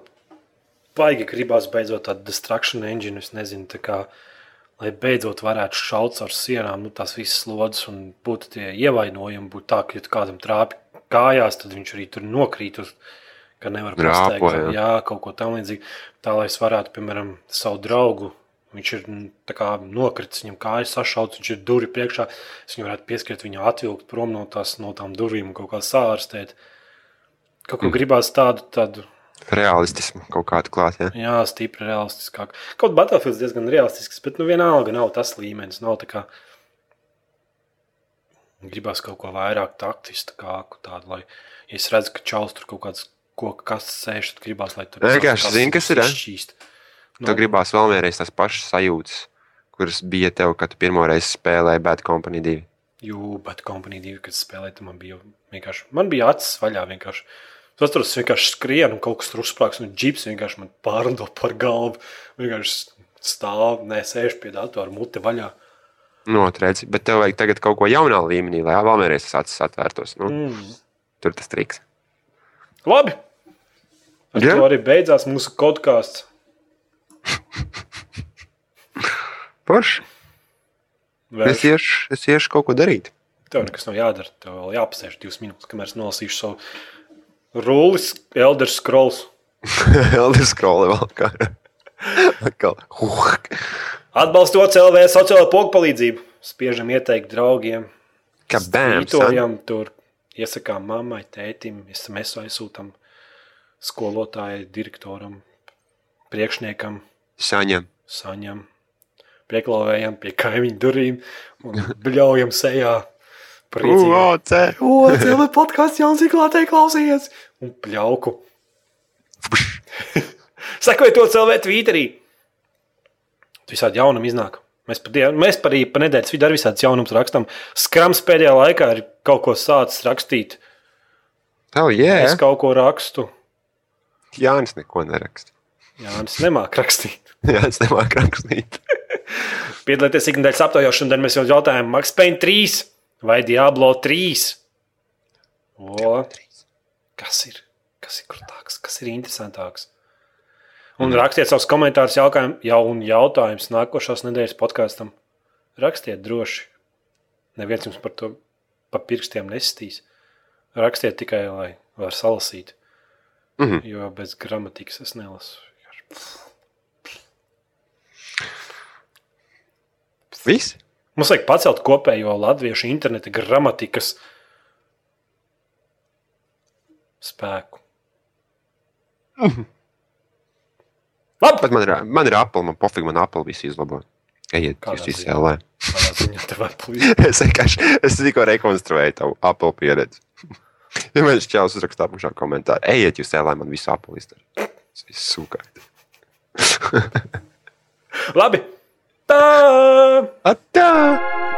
baigi gribās beidzot tādu destrukciju engine, es nezinu, tā kā, lai beidzot varētu šaut ar sienām, nu, tās visas slodzes un būtu tie ievainojumi. Būtu tā, ka ja tu kādam trāpi kājās, tad viņš arī tur nokrīt. Uz, ka nevar
Rāpo,
pateikt,
jā.
jā, kaut ko tamlīdzīgu. Tā lai es varētu, piemēram, savu draugu. Viņš ir nu, tā kā nokritis, viņam kājas sašauts, viņš ir durvis priekšā. Es viņu varētu pieskriet, viņu atvilkt prom no, tās, no tām durvīm un kaut kā sārstēt. Kaut ko mm. gribās tādu, tādu
Realistismu kaut kādu klāt. Ja?
Jā, stipri realistiskāk. Kaut Battlefields diezgan realistisks, bet nu vienalga nav tas līmenis. Nav tā kā gribās kaut ko vairāk taktiskāku, tādu, lai ja es redzu, ka čels tur kaut kāds koks, kas sēž, tad gribās, lai tur
Vienkārši zini, kas ir, eh?
Šķīst.
Tev gribās vēl vienreiz tās pašas sajūtas, kuras bija tev, kad tu pirmo reizi spēlēji Bad Company 2.
Jū, bet kompānija divi, kas spēlēja, tad man bija vienkārši, man bija acis vaļā vienkārši. Es atceros, es vienkārši skrienu, un kaut kas tur uzsprāgs, un džips vienkārši man pārlido par galvu. Vienkārši stāv, nē, sēž pie datora, mute vaļā.
Notrēdzi, Nu, bet tev vajag tagad kaut ko jaunā līmenī, lai vēl vienreiz tas acis atvērtos. Nu, mm.
Mm.
Tur tas triks.
Labi. Ar
Jā.
to arī beidzās mūsu podkāsts.
Porš, es
Tev
iešu, es iešu kaut ko darīt.
nekas nav jādara. Tev vēl jāpasēž divas minūtes, kamēr es nolasīšu savu rullis, Elder Scrolls.
Elder Scrolls vēl kā. Atkal. Huh.
Atbalstot CLV sociālo pogu palīdzību. Spiežam ieteikt draugiem,
Kā bērns.
mītojam tur, iesakām mammai, tētim, SMS aizsūtam skolotāju, direktoram, priekšniekam,
Saņem.
saņem, pieklauvējam pie kaimiņu durvīm un bļaujam sejā. Priecīgi.
Uoce.
Cilvēks podkāsts jau ziklātē klausies. Un pļauku. Sekojiet to cilvēku Twitterī. Tu visādi jaunam iznāk. Mēs par, dienu, mēs par, par nedēļas vidu arī visādi jaunumus rakstām. Skrams pēdējā laikā ir kaut ko sācis rakstīt
Tev jē,
Es kaut ko rakstu.
Jānis neko neraksta.
Jā, es nemāku rakstīt.
Jānis nemāk rakstīt.
Piedalieties ikdienas aptaujāšanā, tad mēs jums jautājām, Max Payne 3 vai Diablo 3? O, kas ir? Kas ir krūtāks, kas ir interesantāks? Un rakstiet savus komentārus, jautājumus, jau un jautājumus nākošās nedēļas podkāstam. Rakstiet droši. Neviens jums par to pa pirkstiem nesistīs. Rakstiet tikai, lai var salasīt.
Mhm.
Jo bez gramatikas es nelasu.
Viss?
Mums vajag pacelt kopējo latviešu interneta gramatikas spēku. Labi,
Pat man ir, man ir Apple, man pofīgi, man Apple viss izlabo. Ejiet,
Kādā
jūs visi
ziņā?
LV.
tādā ziņā tev atpūst.
Es vienkārši, es tikko rekonstruēju tavu Apple pieredzi. Ja man šķēlis uzrakstā apakšā komentāru, ejiet, jūs LV, man visu Apple izdara. Es visu sūkāju.
Labi! Tā!
Atā!